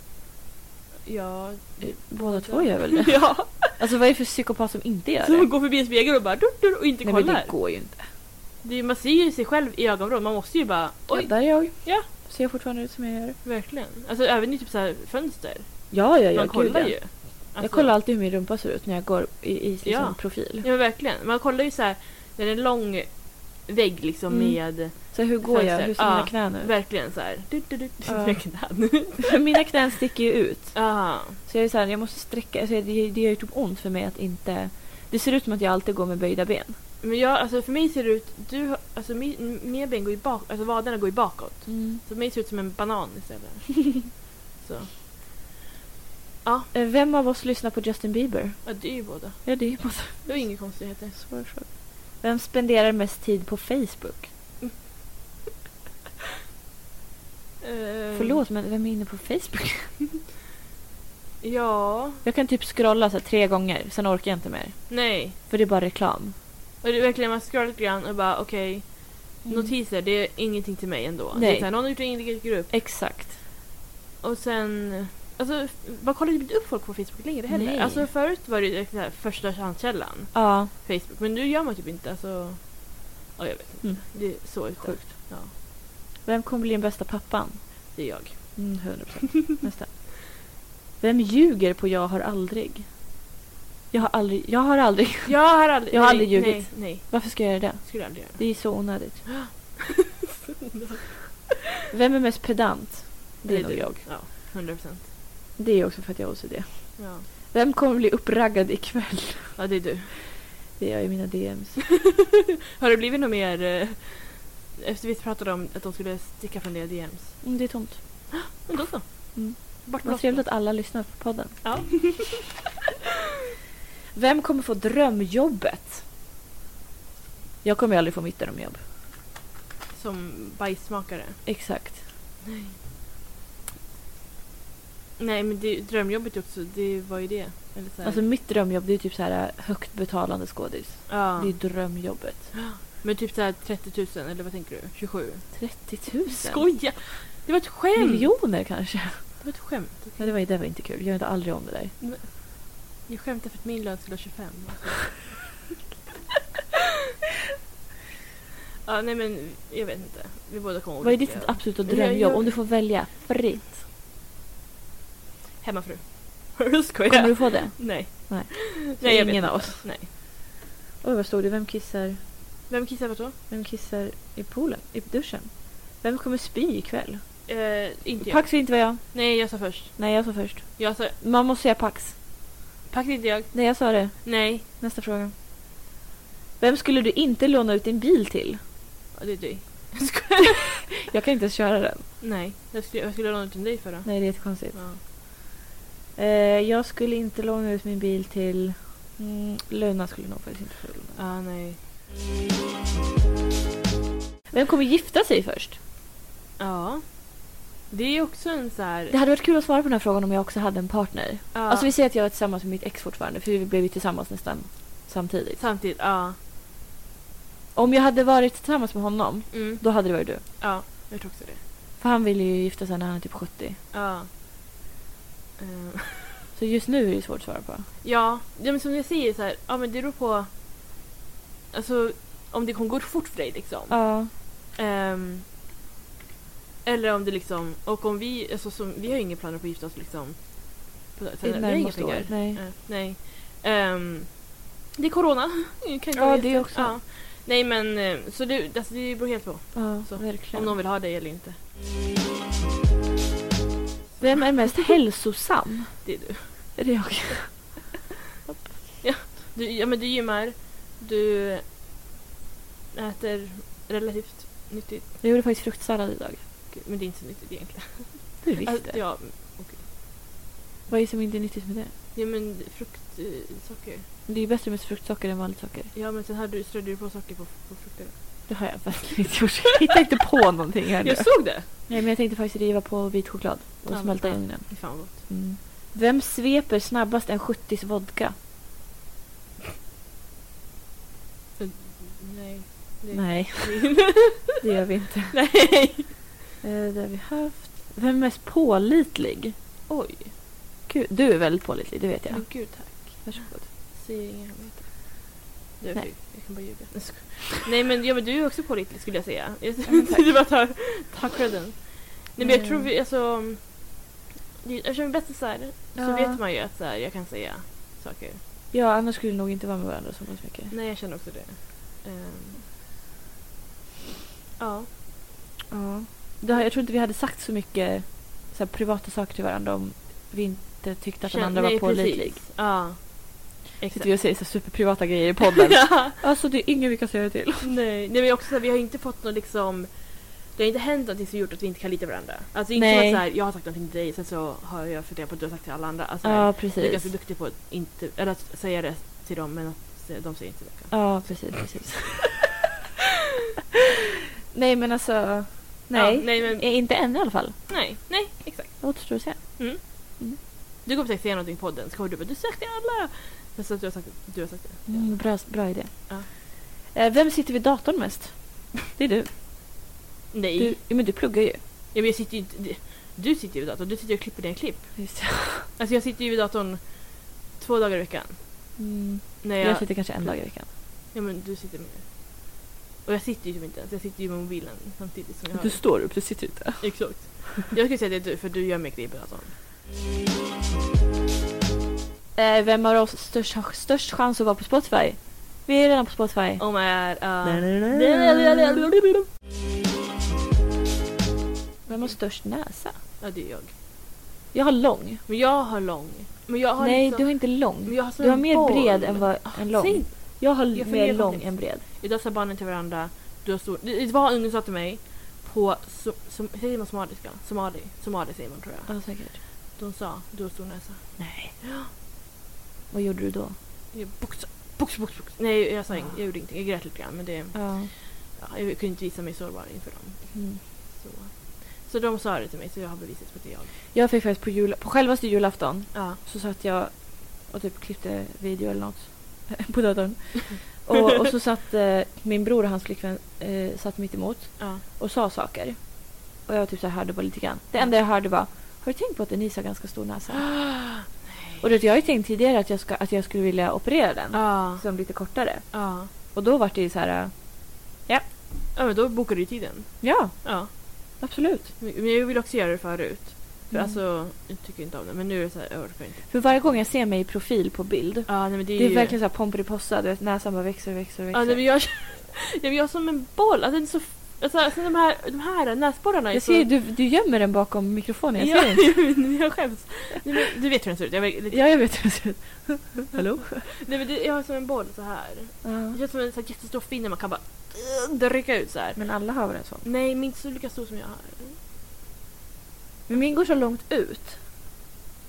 S1: Ja.
S2: Båda två gör väl det?
S1: ja.
S2: Alltså vad är det för psykopat som inte gör
S1: Så
S2: det?
S1: man går förbi en spegel och bara dur, dur, och inte
S2: Nej men
S1: kollar.
S2: det går ju inte.
S1: Det är, man ser ju sig själv i ögonvrån. Man måste ju bara
S2: Oj.
S1: oj,
S2: Där är jag.
S1: Ja.
S2: Ser jag fortfarande ut som jag gör?
S1: verkligen. Alltså även i typ så här fönster.
S2: Ja, ja, ja.
S1: Man
S2: gud,
S1: kollar
S2: ja.
S1: ju.
S2: Jag
S1: Alltså-
S2: kollar alltid hur min rumpa ser ut när jag går i, i liksom,
S1: Ja.
S2: profil.
S1: Ja men verkligen. Man kollar ju så här när det är en lång vägg liksom
S2: Mm.
S1: med
S2: Så hur går jag?
S1: Fönster.
S2: Hur ser mina
S1: Ja.
S2: knän ut?
S1: verkligen så här. Du, du, du, du,
S2: Ja.
S1: med knän.
S2: mina knän sticker ju ut.
S1: Ja.
S2: Så jag är så här, jag måste sträcka. Alltså det, det gör ju typ ont för mig att inte... Det ser ut som att jag alltid går med böjda ben.
S1: Men jag, alltså för mig ser det ut, du, har- alltså mi- mina ben går ju bak, alltså vaderna går ju bakåt. Så för mig ser det ut som en banan istället. så.
S2: Eh, Vem av oss lyssnar på Justin Bieber?
S1: Ja det är ju båda.
S2: Ja, det är bara så
S1: Det var inga konstigheter.
S2: svår fråga. Vem spenderar mest tid på Facebook?
S1: Uh,
S2: Förlåt, men vem är inne på Facebook?
S1: Ja.
S2: Jag kan typ scrolla så här, tre gånger, sen orkar jag inte mer.
S1: Nej.
S2: För det är bara reklam.
S1: Och det är verkligen man scrollar lite grann och bara okej. Notiser det är ingenting till mig ändå.
S2: Mm. Nej.
S1: Det är så här, någon har gjort en egen grupp.
S2: Exakt.
S1: Och sen Alltså, man kollar ju inte upp folk på Facebook längre heller.
S2: Nej.
S1: Alltså förut var det ju så här, första chanskällan,
S2: Ja.
S1: Facebook. Men nu gör man typ inte alltså... Ja, jag vet inte.
S2: Mm.
S1: Det är så sjukt.
S2: Sjukt.
S1: Ja,
S2: Vem kommer bli den bästa pappan?
S1: det är jag.
S2: Mm, 100%. Nästa. Vem ljuger på jag har aldrig? Jag har aldrig... Jag har aldrig...
S1: Jag har aldrig,
S2: Jag har aldrig
S1: nej,
S2: ljugit.
S1: Nej, nej.
S2: Varför ska jag göra det?
S1: Skulle jag aldrig göra.
S2: Det är så onödigt. Vem är mest pedant? Det är nog
S1: du.
S2: jag.
S1: Ja, 100 procent.
S2: Det är också för att jag har OCD.
S1: Ja.
S2: Vem kommer bli uppraggad ikväll?
S1: ja, det är du.
S2: Det är jag i mina DMs.
S1: Har det blivit något mer... eh, Efter vi pratade om att de skulle sticka från det DMs.
S2: Mm, det är tomt.
S1: Men då så.
S2: Mm.
S1: Bort med
S2: Vad
S1: oss
S2: trevligt
S1: då.
S2: att alla lyssnar på podden.
S1: Ja.
S2: Vem kommer få drömjobbet? Jag kommer ju aldrig få mitt drömjobb.
S1: Som bajsmakare.
S2: Exakt.
S1: Nej, men det, drömjobbet också, det var ju det. Eller så här.
S2: Alltså mitt drömjobb det är typ så här högt betalande skådis.
S1: ja.
S2: Det är drömjobbet.
S1: Men typ så här 30 000, eller vad tänker du? 27?
S2: 30 000?
S1: Skoja! Det var ett skämt!
S2: Mm. Miljoner kanske?
S1: Det var ett skämt.
S2: Ja, det, var, det var inte kul. Jag gör aldrig om det där.
S1: Jag skämtade för att min lön skulle vara 25. Alltså. ja, nej men jag vet inte. Vi båda kommer
S2: Vad är ditt
S1: olika.
S2: absoluta
S1: Jag
S2: drömjobb?
S1: gör-
S2: Om du får välja fritt.
S1: Hemmafru. Jag skojar.
S2: Kommer du få det?
S1: Nej.
S2: Nej.
S1: nej jag vet
S2: Ingen
S1: inte.
S2: av oss.
S1: Nej.
S2: Oj, vad stod det? Vem kissar,
S1: Vem kissar vart då?
S2: vem kissar i poolen? I duschen? Vem kommer spy ikväll?
S1: Eh, inte jag.
S2: Pax vill inte vara jag.
S1: Nej, jag sa först.
S2: Nej, jag sa först.
S1: Jag sa...
S2: Man måste säga Pax.
S1: Pax inte jag.
S2: Nej, jag sa det.
S1: Nej.
S2: Nästa fråga. Vem skulle du inte låna ut din bil till?
S1: Ja, det är du. Jag skojar.
S2: Jag kan inte ens köra den.
S1: nej. Jag skulle, jag skulle låna ut den dig för då.
S2: Nej, det är jättekonstigt.
S1: Ja.
S2: Eh, jag skulle inte låna ut min bil till... Mm, Luna skulle nog faktiskt inte få låna.
S1: Ja, Ah, nej.
S2: Vem kommer gifta sig först?
S1: Ja. Det är också en så här...
S2: Det hade varit kul att svara på den här frågan om jag också hade en partner.
S1: ja.
S2: Alltså vi säger att jag är tillsammans med mitt ex fortfarande för vi blev ju tillsammans nästan samtidigt.
S1: Samtidigt, ja.
S2: Om jag hade varit tillsammans med honom,
S1: Mm.
S2: då hade det varit du.
S1: Ja, jag tror också det.
S2: För han ville ju gifta sig när han är typ 70.
S1: Ja. Ehm,
S2: Så just nu är det svårt att svara på.
S1: ja. ja, men som jag säger så här, ja men det beror på... Alltså om det kommer gå fort för dig liksom.
S2: Ja.
S1: Ehm, eller om det liksom, och om vi, alltså som, vi har ju inga planer på att gifta oss liksom. På,
S2: I det
S1: vi har inga
S2: närmaste
S1: pengar.
S2: året. Nej.
S1: Eh, nej. Ehm, det är corona. Kan inte
S2: Ja,
S1: vara
S2: det
S1: jätte-
S2: också.
S1: Ja. Nej men, eh, så det, alltså, det beror helt på.
S2: Ja,
S1: Så,
S2: verkligen.
S1: Om någon vill ha dig eller inte.
S2: Vem är mest hälsosam?
S1: Det är du.
S2: Är det jag?
S1: Du, ja, men du gymmar, du äter relativt nyttigt.
S2: Jag gjorde faktiskt fruktsallad idag.
S1: Gud, Men det är inte så nyttigt egentligen.
S2: Du visste.
S1: Alltså, ja,
S2: Vad är det som inte är nyttigt med det?
S1: ja, men frukt, eh, socker.
S2: Det är ju bättre med strösocker än vanligt socker.
S1: Ja, men sen här du, strödde du på socker på, på frukten.
S2: Det har jag verkligen inte gjort. Jag hittar inte på någonting här nu.
S1: Jag såg det!
S2: Nej, men jag tänkte faktiskt riva på vit choklad och
S1: Ja,
S2: smälta i
S1: bra.
S2: ugnen.
S1: Fy fan vad gott.
S2: Mm. Vem sveper snabbast en 70s vodka?
S1: Nej. Det,
S2: Nej, det gör vi inte.
S1: Nej.
S2: Eh, det har vi haft. Vem är mest pålitlig?
S1: Oj. Mm.
S2: Gud, du är väldigt pålitlig, det vet jag.
S1: Men gud tack.
S2: Varsågod.
S1: Säger inga hemligheter. Du,
S2: Nej.
S1: Nej. Jag kan bara ljuga. Jag skojar. Nej men, ja, men du är också pålitlig skulle jag säga. Jag
S2: men tack.
S1: du bara tar, tar credden. Nej men jag
S2: Mm.
S1: tror vi, alltså. det- Eftersom vi är bästisar så
S2: Ja.
S1: vet man ju att så här, jag kan säga saker.
S2: Ja, annars skulle vi nog inte vara med varandra så pass mycket.
S1: Nej jag känner också det. Ehm. Ja.
S2: Ja. Det har, jag tror inte vi hade sagt så mycket så här, privata saker till varandra om vi inte tyckte att den
S1: Kän-
S2: andra
S1: nej,
S2: var pålitlig.
S1: precis. Ja.
S2: Sitter
S1: Exakt.
S2: vi och säger så här superprivata grejer i podden.
S1: Ja.
S2: alltså det är ingen vi kan säga det till.
S1: Nej, nej men också så här, vi har inte fått någon liksom det har inte hänt någonting som gjort att vi inte kan lita på varandra. Alltså det är inte
S2: Nej.
S1: så att så här, jag har sagt någonting till dig sen så har jag funderat på att du har sagt till alla andra. Alltså,
S2: Ja,
S1: Du är
S2: precis.
S1: ganska duktig på att, inte, eller att säga det till dem men att se- de säger inte tillbaka.
S2: Ja, precis, precis. nej, men alltså. Nej.
S1: Ja, nej, men,
S2: Eh, Inte än i alla fall.
S1: nej, nej, exakt.
S2: Det återstår att se.
S1: Du kommer säkert säga någonting på podden så kommer du bara du sökte till alla. Men så att du har sagt du har sagt det.
S2: Mm, bra, bra idé.
S1: Ja.
S2: Eh, Vem sitter vid datorn mest? Det är du.
S1: Nej,
S2: du ja, men du pluggar ju.
S1: Ja, men jag sitter ju inte... det- Du sitter ju vid datorn, du sitter och klipper dina klipp.
S2: Just
S1: Alltså jag sitter ju vid datorn två dagar i veckan.
S2: mm.
S1: När jag,
S2: Jag sitter kanske en dag i veckan.
S1: Ja men du sitter med... Och jag sitter ju typ inte ens, jag sitter ju med mobilen samtidigt som jag har...
S2: står upp, du sitter inte.
S1: Exakt. Jag skulle säga det är du, för du gör mycket grejer på datorn.
S2: Eh, vem har oss störst, har störst chans att vara på Spotify? Vi är redan på Spotify.
S1: Om är... Uh...
S2: Vem har störst näsa?
S1: Ja det är jag.
S2: Jag har lång.
S1: Men jag har lång. Men jag har
S2: Nej,
S1: liksom...
S2: du har inte lång.
S1: Men jag har som
S2: Du har
S1: en
S2: mer
S1: boll.
S2: bred än, vad, än lång.
S1: Säg-
S2: Jag har
S1: Jag får
S2: mer
S1: mer
S2: lång
S1: kontext.
S2: än bred.
S1: Idag sa barnen till varandra, du har stor... Det det var en unge som sa till mig på... Som, som, säger man somaliska? Somali? Somali säger man tror jag.
S2: Ja, säkert.
S1: De sa, du har stor näsa.
S2: Nej. Vad gjorde du då?
S1: Jag box, box, box, box. Nej jag sa inget, jag gjorde ingenting. Jag grät lite grann men det...
S2: Ja.
S1: Ja, jag kunde inte visa mig sårbar inför dem.
S2: Mm.
S1: Så, så de sa det till mig så jag har beviset på att det är jag.
S2: Jag fick faktiskt på, jul, på självaste julafton
S1: Ja.
S2: så satt jag och typ klippte video eller något på datorn. och, och så satt eh, min bror och hans flickvän eh, satt mitt emot
S1: ja.
S2: och sa saker. Och jag typ så här hörde bara lite grann. Det enda jag hörde var Har du tänkt på att Denise har ganska stor näsa? Och du vet, jag har ju tänkt tidigare att jag, ska, att jag skulle vilja operera den.
S1: Ja.
S2: Som lite kortare.
S1: ja.
S2: Och då var det ju så här eh,
S1: Ja men då bokar du ju tiden.
S2: Ja,
S1: Ja.
S2: absolut.
S1: Men jag vill också göra det förut. För
S2: Mm.
S1: alltså, jag tycker inte om det men nu är det så här, jag orkar inte.
S2: För varje gång jag ser mig i profil på bild
S1: Ja nej men det är,
S2: Det är
S1: ju...
S2: verkligen så här Pomperipossa, du vet näsan bara växer och växer och
S1: Ja,
S2: växer.
S1: nej, men jag, ja, men jag är som en boll. Alltså, den är så, alltså, alltså, de, här, de här näsborrarna är
S2: jag
S1: så...
S2: ser ju, du, du gömmer den bakom mikrofonen, jag ser den.
S1: Alltså- ja, men jag skäms. Nej, men, du vet hur den ser ut. Jag, var- lite,
S2: Ja, jag vet hur det ser ut. Hallå?
S1: nej, men det, jag är som en boll så här. Jag är som en så här, jättestor finne man kan bara eh, drycka ut så här.
S2: Men alla har väl en sån?
S1: Nej, min är inte lika stor som jag har.
S2: Men min går så långt ut.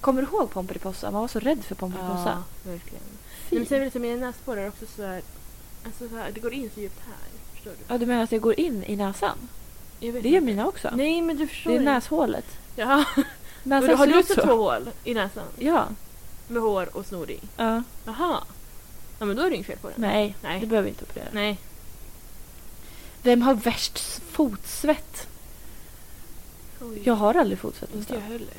S2: Kommer du ihåg Pomperipossa? Man var så rädd för Pomperipossa.
S1: verkligen. Nej,
S2: Fy.
S1: men sen vill jag säga, mina näsborrar är också så här... Alltså så här, det går in så djupt här. Förstår du?
S2: Ja, du menar att jag går in i näsan?
S1: Jag vet
S2: Det gör
S1: inte.
S2: mina också.
S1: Nej, men du förstår
S2: det är
S1: inte.
S2: näshålet.
S1: Jaha.
S2: Näsan
S1: Men har
S2: ser
S1: du
S2: ut
S1: också två hål i näsan?
S2: Ja.
S1: Med hår och snor i?
S2: ja.
S1: Jaha. Ja, men då är det inget fel på den.
S2: Nej,
S1: Nej.
S2: du behöver inte operera.
S1: Nej.
S2: Vem har värst s- fotsvett?
S1: Oj.
S2: Jag har aldrig fotsvett
S1: Inte jag
S2: nästan.
S1: heller.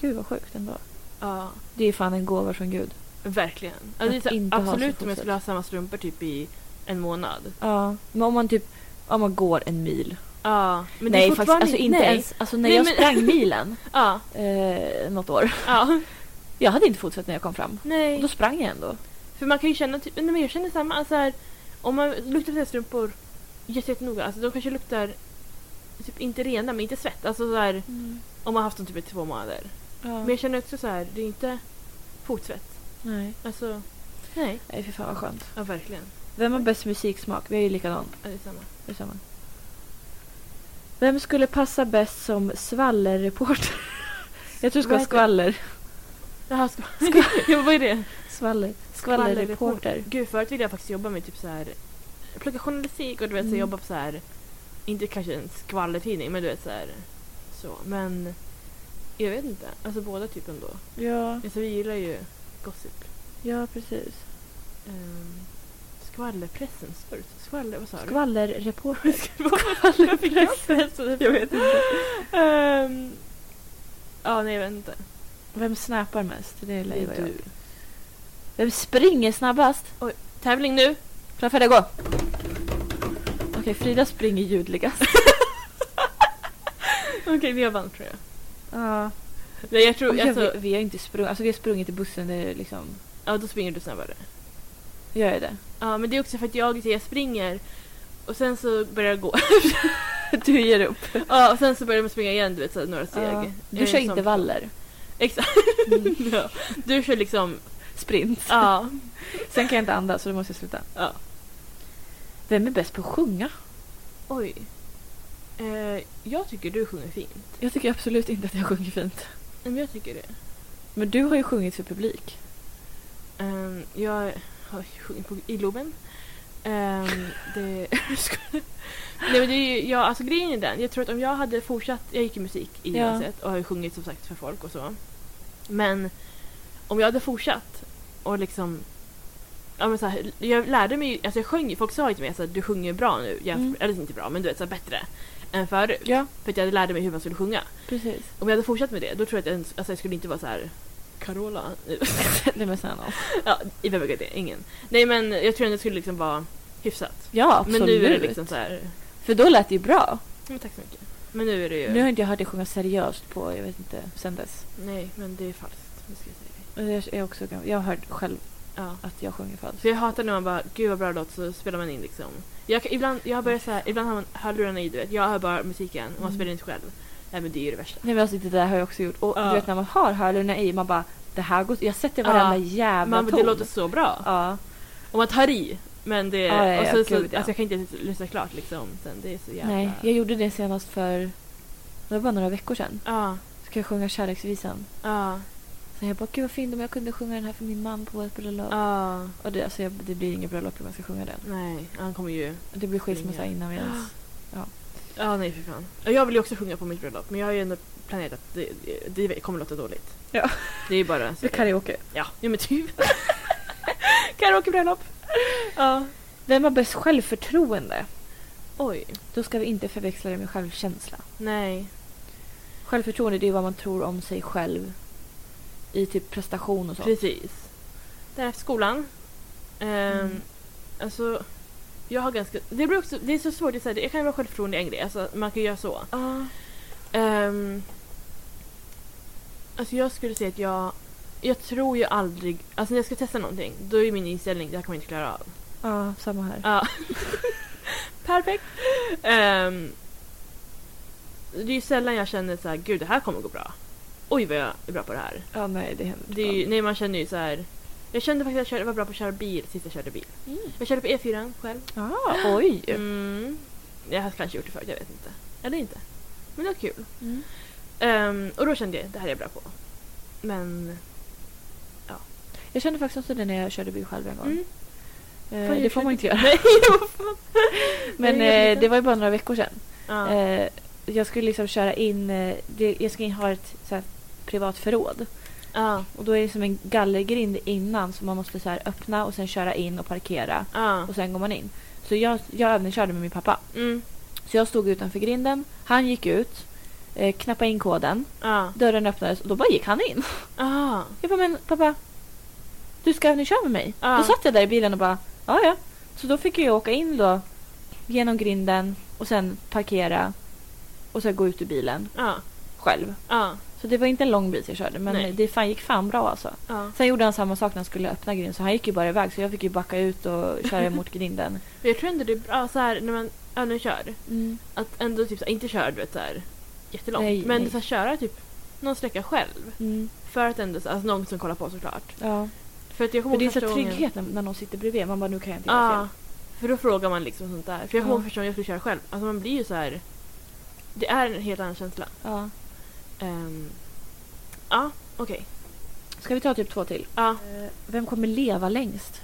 S2: Gud vad sjukt ändå.
S1: Ja,
S2: Det är fan en gåva från gud.
S1: verkligen. Alltså,
S2: Att
S1: det är så, här,
S2: inte ha så
S1: absolut om jag
S2: fotsvett.
S1: skulle ha samma strumpor typ i en månad.
S2: Ja, men om man typ om man går en mil.
S1: Ja, men det
S2: nej,
S1: är
S2: faktiskt
S1: fortfarande
S2: alltså inte
S1: nej.
S2: ens alltså när
S1: Nej,
S2: jag
S1: men-
S2: sprang milen
S1: Ja,
S2: eh, något år.
S1: ja.
S2: Jag hade inte fotsvett när jag kom fram. Och då
S1: Nej.
S2: sprang jag ändå.
S1: För man kan ju känna typ, nej men jag känner samma, alltså här, om man luktar sina strumpor jätte- jättenoga, alltså de kanske luktar typ inte rena men inte svett. Alltså så här, om man har haft dem typ i två månader.
S2: Mm. Ja.
S1: Men jag känner också så här, det är inte fotsvett.
S2: Nej.
S1: Alltså, nej.
S2: nej, fy fan vad skönt.
S1: Ja, verkligen.
S2: Vem har bäst musiksmak? Vi är ju likadan.
S1: Ja, det är samma.
S2: Vi är samma. Vem skulle passa bäst som skvallerreporter? jag tror du ska
S1: Vad
S2: ha
S1: heter-
S2: skvaller.
S1: Jaha, ska, ska, ja, vad är det?
S2: Skvaller. Skvallerreporter.
S1: Gud, förut ville jag faktiskt jobba med typ så här plugga journalistik och du vet så
S2: Mm.
S1: jobba på så här inte kanske en skvallertidning men du vet så här så men jag vet inte, alltså båda typ ändå.
S2: Ja,
S1: Alltså vi gillar ju gossip.
S2: ja precis.
S1: Um, skvallerpressen står det så? Skvaller, vad sa du?
S2: Skvallerreporter.
S1: Skvallerpressen. jag vet inte. ja, nej jag vet inte.
S2: Vem snappar mest? Det är
S1: Det är
S2: jag.
S1: du.
S2: Vem springer snabbast?
S1: Tävling nu!
S2: Framför dig, gå! Okej, Frida springer ljudligast.
S1: Okej, vi har vann tror jag.
S2: Ja.
S1: Nej jag tror, alltså,
S2: vi, vi har inte sprungit, alltså vi har sprungit i bussen, det är liksom...
S1: ja då springer du snabbare.
S2: Gör jag det?
S1: Ja, men det är också för att jag, jag springer och sen så börjar jag gå.
S2: Du ger upp.
S1: ja, och sen så börjar jag springa igen, du vet, så här, några steg.
S2: Ja.
S1: Jag
S2: Du
S1: är
S2: kör
S1: en sån
S2: intervaller.
S1: Exakt. ja. Du kör liksom,
S2: Sprint.
S1: ja.
S2: Sen kan jag inte andas så då måste jag sluta.
S1: Ja.
S2: Vem är bäst på att sjunga?
S1: Oj. Eh, jag tycker du sjunger fint.
S2: Jag tycker absolut inte att jag sjunger fint.
S1: Nej, men jag tycker det.
S2: Men du har ju sjungit för publik.
S1: Ehm, jag har sjungit på, i Globen. Ehm, det... Skojar. Nej men det är ju, ja, alltså grejen är den, jag tror att om jag hade fortsatt, jag gick i musik i
S2: Ja.
S1: gymnasiet och har ju sjungit som sagt för folk och så. Men om jag hade fortsatt och liksom, ja men så här, jag lärde mig ju, alltså jag sjöng ju, folk sa ju till mig att du sjunger bra nu, jämfört,
S2: Mm.
S1: eller inte bra men du vet så här, bättre än förut.
S2: Ja,
S1: För att jag lärde mig hur man skulle sjunga.
S2: precis.
S1: Om jag hade fortsatt med det då tror jag att jag, ens- alltså, jag skulle inte vara så här Carola.
S2: Nej men snälla.
S1: ja, i vem vet jag, ingen. Nej men jag tror att det skulle liksom vara hyfsat.
S2: Ja, absolut.
S1: Men nu är det liksom så här.
S2: För då lät det ju bra.
S1: Men tack så mycket. Men nu är det ju...
S2: Nu har inte jag hört dig sjunga seriöst på, jag vet inte, sen dess.
S1: Nej, men det är falskt. Nu ska jag säga det.
S2: Och Jag är också gammal. Jag har hört själv
S1: Ja.
S2: att jag sjunger falskt.
S1: För jag hatar när man bara, gud vad bra låt, så spelar man in liksom. Jag, kan- ibland, jag har börjat så här, ibland har man hörlurarna i, du vet. Jag hör bara musiken och man
S2: Mm.
S1: spelar inte själv. Nej men det är ju det värsta.
S2: Nej men alltså det där har jag också gjort. Och
S1: Ja.
S2: du vet när man har hörlurarna i, man bara det här går... Jag sätter
S1: Ja.
S2: varenda jävla
S1: Man,
S2: ton.
S1: det låter så bra.
S2: Ja.
S1: Och man tar i. Men det...
S2: Ja, ja, ja,
S1: och så, så,
S2: gud, ja.
S1: Alltså jag kan inte ens lyssna klart liksom. Sen, det är så jävla...
S2: Nej, jag gjorde det senast för... Det var bara några veckor sedan.
S1: Ja,
S2: Ska jag sjunga kärleksvisan.
S1: ja,
S2: Så jag bara gud vad fint om jag kunde sjunga den här för min man på vårt bröllop.
S1: ja.
S2: Och det, alltså, jag, det blir inget bröllop om jag ska sjunga den.
S1: Nej, han kommer ju...
S2: Det blir skilsmässa
S1: Ingen.
S2: innan vi ens...
S1: Ja, nej för fan. Och Jag vill ju också sjunga på mitt bröllop men jag har ju ändå planerat att det, det, det kommer låta dåligt.
S2: Ja.
S1: Det är ju bara... Så,
S2: karaoke.
S1: ja, ja, men typ. Karaokebröllop. Ja.
S2: Vem har bäst självförtroende?
S1: Oj.
S2: Då ska vi inte förväxla det med självkänsla.
S1: Nej.
S2: Självförtroende det är vad man tror om sig själv i typ prestation och så.
S1: Precis. Där efter skolan. Ehm,
S2: Mm.
S1: Alltså, jag har ganska... Det, blir också, det är så svårt, att säga, det- jag kan ju vara självförtroende i en grej, alltså, man kan ju göra så.
S2: Ja.
S1: Ehm, alltså jag skulle säga att jag... Jag tror ju aldrig... Alltså när jag ska testa någonting, då är min inställning det här kommer jag inte klara av.
S2: Ja, samma här.
S1: Ja. Perfekt. Ehm, det är ju sällan jag känner så här, gud det här kommer gå bra. Oj vad jag är bra på det här.
S2: Ja, nej det händer
S1: Det är ju, nej man känner ju så här. Jag kände faktiskt att jag körde- var bra på att köra bil sist jag körde bil.
S2: Mm.
S1: Jag körde på E4 själv.
S2: Ja, oj.
S1: Mm. Jag har kanske gjort det förut, jag vet inte. Eller inte. Men det var kul.
S2: Mm.
S1: Ehm, och då kände jag det här är jag bra på. Men...
S2: Jag kände faktiskt också det när jag körde bil själv en gång.
S1: Mm.
S2: Eh,
S1: Fan, jag
S2: det får man inte göra.
S1: Nej, vad fan.
S2: Men
S1: Nej, jag vet
S2: eh,
S1: inte.
S2: det var ju bara några veckor sedan.
S1: Ja.
S2: Eh, jag skulle liksom köra in, eh, det, jag ska in, ha ett så här, privat förråd.
S1: Ja.
S2: Och då är det som en gallergrind innan som man måste så här, öppna och sen köra in och parkera.
S1: Ja.
S2: Och sen går man in. Så jag, jag övningskörde med min pappa.
S1: Mm.
S2: Så jag stod utanför grinden, han gick ut, eh, knappade in koden,
S1: Ja.
S2: dörren öppnades och då bara gick han in.
S1: Ja.
S2: Jag bara, men pappa, du ska nu köra med mig?
S1: Ja.
S2: Då satt jag där i bilen och bara, ja ja. Så då fick jag åka in då, genom grinden och sen parkera och sen gå ut ur bilen
S1: Ja.
S2: själv.
S1: Ja.
S2: Så det var inte en lång bit jag körde men
S1: Nej.
S2: det fan, gick fan bra alltså.
S1: Ja.
S2: Sen gjorde han samma sak när han skulle öppna grinden så han gick ju bara iväg så jag fick ju backa ut och köra mot grinden.
S1: Men jag tror ändå det är bra så här när man ja, när jag kör. Att ändå typ så här, inte köra du vet så här jättelångt.
S2: Nej,
S1: men
S2: nej.
S1: så här, köra typ någon sträcka själv.
S2: Mm.
S1: För att ändå, så- alltså någon som kollar på såklart.
S2: Ja.
S1: För att jag kommer
S2: För det är
S1: ihåg
S2: så
S1: första gången-
S2: trygghet när, när någon sitter bredvid. Man bara nu kan jag inte göra
S1: Ja. För då frågar man liksom sånt där. För jag kommer
S2: Ja.
S1: ihåg första gången jag skulle köra själv. Alltså man blir ju så här. Det är en helt annan känsla.
S2: fel. Ja.
S1: Ehm, ja, okej.
S2: Ska vi ta typ två till?
S1: Ja.
S2: Eh, Vem kommer leva längst?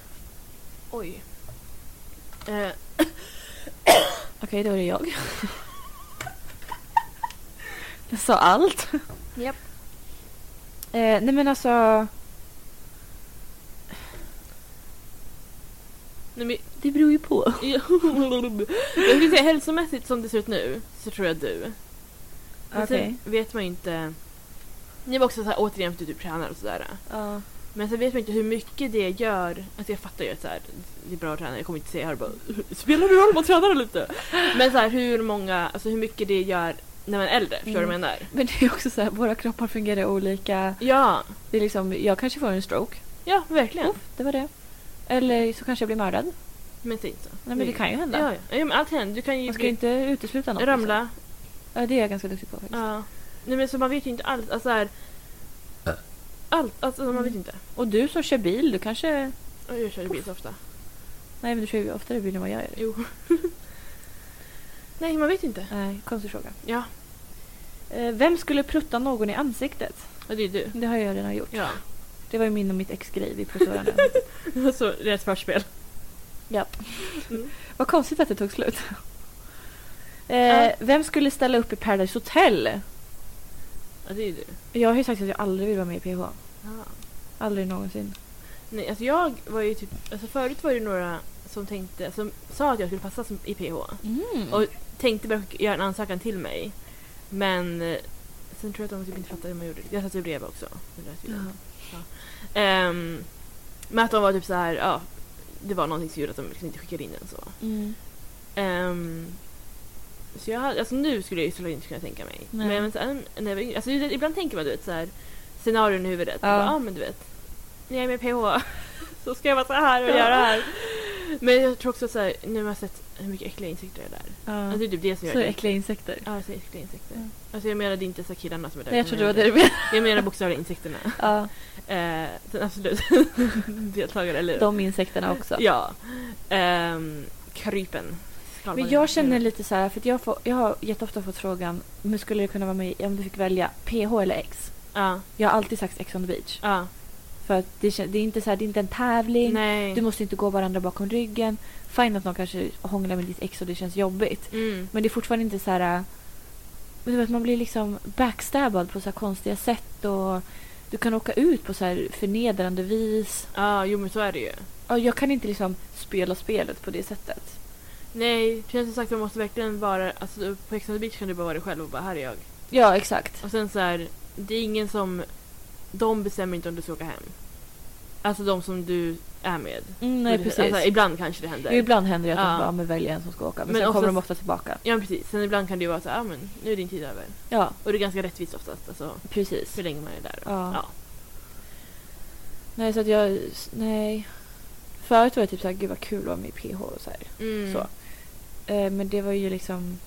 S1: Oj. Eh,
S2: Okej, då är det jag. jag sa allt.
S1: Japp.
S2: Eh, nej men alltså,
S1: nej, men,
S2: det beror ju på.
S1: jag skulle säga hälsomässigt som det ser ut nu så tror jag du. Men
S2: Okej.
S1: sen vet man ju inte. Det var också så här, återigen för att du typ tränar och sådär.
S2: Ja.
S1: Men sen vet man inte hur mycket det gör. Alltså jag fattar ju att så här, det är bra att träna, jag kommer inte säga här bara Spelar det roll om man tränar lite? Men så här, hur många, alltså hur mycket det gör när man är äldre, förstår
S2: Mm.
S1: du vad jag menar?
S2: Men det är också så här, våra kroppar fungerar olika.
S1: Ja,
S2: Det är liksom, jag kanske får en stroke.
S1: ja verkligen.
S2: Uff, det var det. Eller så kanske jag blir mördad. Nej
S1: Men säg inte så.
S2: men det kan ju hända.
S1: Ja, ja. ja men allt händer. Du kan ju
S2: Man ska ju
S1: bli,
S2: inte utesluta något.
S1: ramla.
S2: liksom. Ja, det är jag ganska duktig på faktiskt.
S1: Ja. Nej men så man vet ju inte alls, alltså så här, Allt, alltså man vet inte.
S2: Och du som kör bil, du kanske...
S1: Och jag kör ju bil så ofta.
S2: Nej men du kör ju oftare bil än vad jag gör.
S1: Jo. Nej man vet inte.
S2: Nej, konstig fråga.
S1: Ja,
S2: Eh, Vem skulle prutta någon i ansiktet?
S1: och det är du.
S2: Det har jag redan gjort.
S1: Ja.
S2: Det var ju min och mitt ex grej, vi pruttar varandra.
S1: Så rätt förspel.
S2: Japp.
S1: Mm.
S2: Vad konstigt att det tog slut. Eh,
S1: Ja.
S2: Vem skulle ställa upp i Paradise Hotel?
S1: Ja det är du.
S2: Jag har ju sagt att jag aldrig vill vara med i PH.
S1: Ja.
S2: Aldrig någonsin.
S1: Nej, alltså jag var ju typ... Alltså förut var det några som, tänkte, som sa att jag skulle passa som, i PH.
S2: Mm.
S1: Och tänkte börja skicka- göra en ansökan till mig. Men eh, sen tror jag att de typ inte fattade hur man gjorde. Jag satt ju bredvid också. Det lät ju
S2: Mm.
S1: dumt. Ehm, men att de var typ så här, ja, det var någonting som gjorde att de liksom inte skickade in den så.
S2: Mm.
S1: Ehm, så jag hade, alltså nu skulle jag ju såklart inte kunna tänka mig.
S2: Nej.
S1: Men, men sen, när jag var yngre, alltså, det- ibland tänker man du vet så här, scenarion i huvudet.
S2: Ja.
S1: Ja. Bara, ah, men du vet, när jag är med PH så ska jag vara så här och
S2: Ja.
S1: göra det här. Men jag tror också så här, nu har jag sett hur mycket äckliga insekter det är där.
S2: Ja.
S1: Alltså, det är typ det som gör
S4: Så
S1: det.
S4: äckliga insekter.
S1: Ja, så äckliga insekter.
S2: Ja.
S1: Alltså jag menade inte så här killarna som är där.
S4: Nej, jag
S1: utan
S4: trodde det var det du menade.
S1: jag menar bokstavligen insekterna.
S2: Ja.
S1: Eh, sen absolut deltagare, eller hur?
S4: De insekterna också.
S1: Ja. Ehm, krypen. Skalbaggar.
S2: Men jag känner lite så här, för att jag, får, jag har jätteofta fått frågan men skulle du kunna vara med i- om du fick välja PH eller X?
S1: Ja,
S2: Jag har alltid sagt X on the beach.
S1: ja.
S2: För att det, kän- det, är inte så här, det är inte en tävling,
S1: Nej.
S2: du måste inte gå varandra bakom ryggen. Fine att någon kanske hånglar med ditt ex och det känns jobbigt.
S1: Mm.
S2: Men det är fortfarande inte så här... äh, Men du vet, man blir liksom backstabbad på så här konstiga sätt och du kan åka ut på så här förnedrande vis.
S1: Ja, jo men så är det ju.
S2: Ja, Jag kan inte liksom spela spelet på det sättet.
S1: Nej, känns som sagt man måste verkligen vara, alltså på Ex on the beach kan du bara vara dig själv och bara här är jag.
S2: Ja, exakt.
S1: Och sen så här, det är ingen som, de bestämmer inte om du ska åka hem. Alltså de som du är med.
S2: Mm, nej,
S1: Det-
S2: precis.
S1: Alltså, ibland kanske det händer.
S2: Jo, ibland händer det att
S1: Ja.
S2: de bara, "Ja, men väljer en som ska åka. Men,
S1: Men
S2: sen kommer
S1: oftast-
S2: de ofta tillbaka.
S1: Ja men precis, sen ibland kan det ju vara så här, ah, men nu är din tid över.
S2: Ja,
S1: Och det är ganska rättvist oftast, alltså
S2: precis.
S1: hur länge man är där.
S2: Ja.
S1: Ja.
S2: Nej, så att jag... Nej. Förut var jag typ såhär, gud vad kul att vara med i PH och så här.
S1: Mm.
S2: Så. Eh, men det var ju liksom...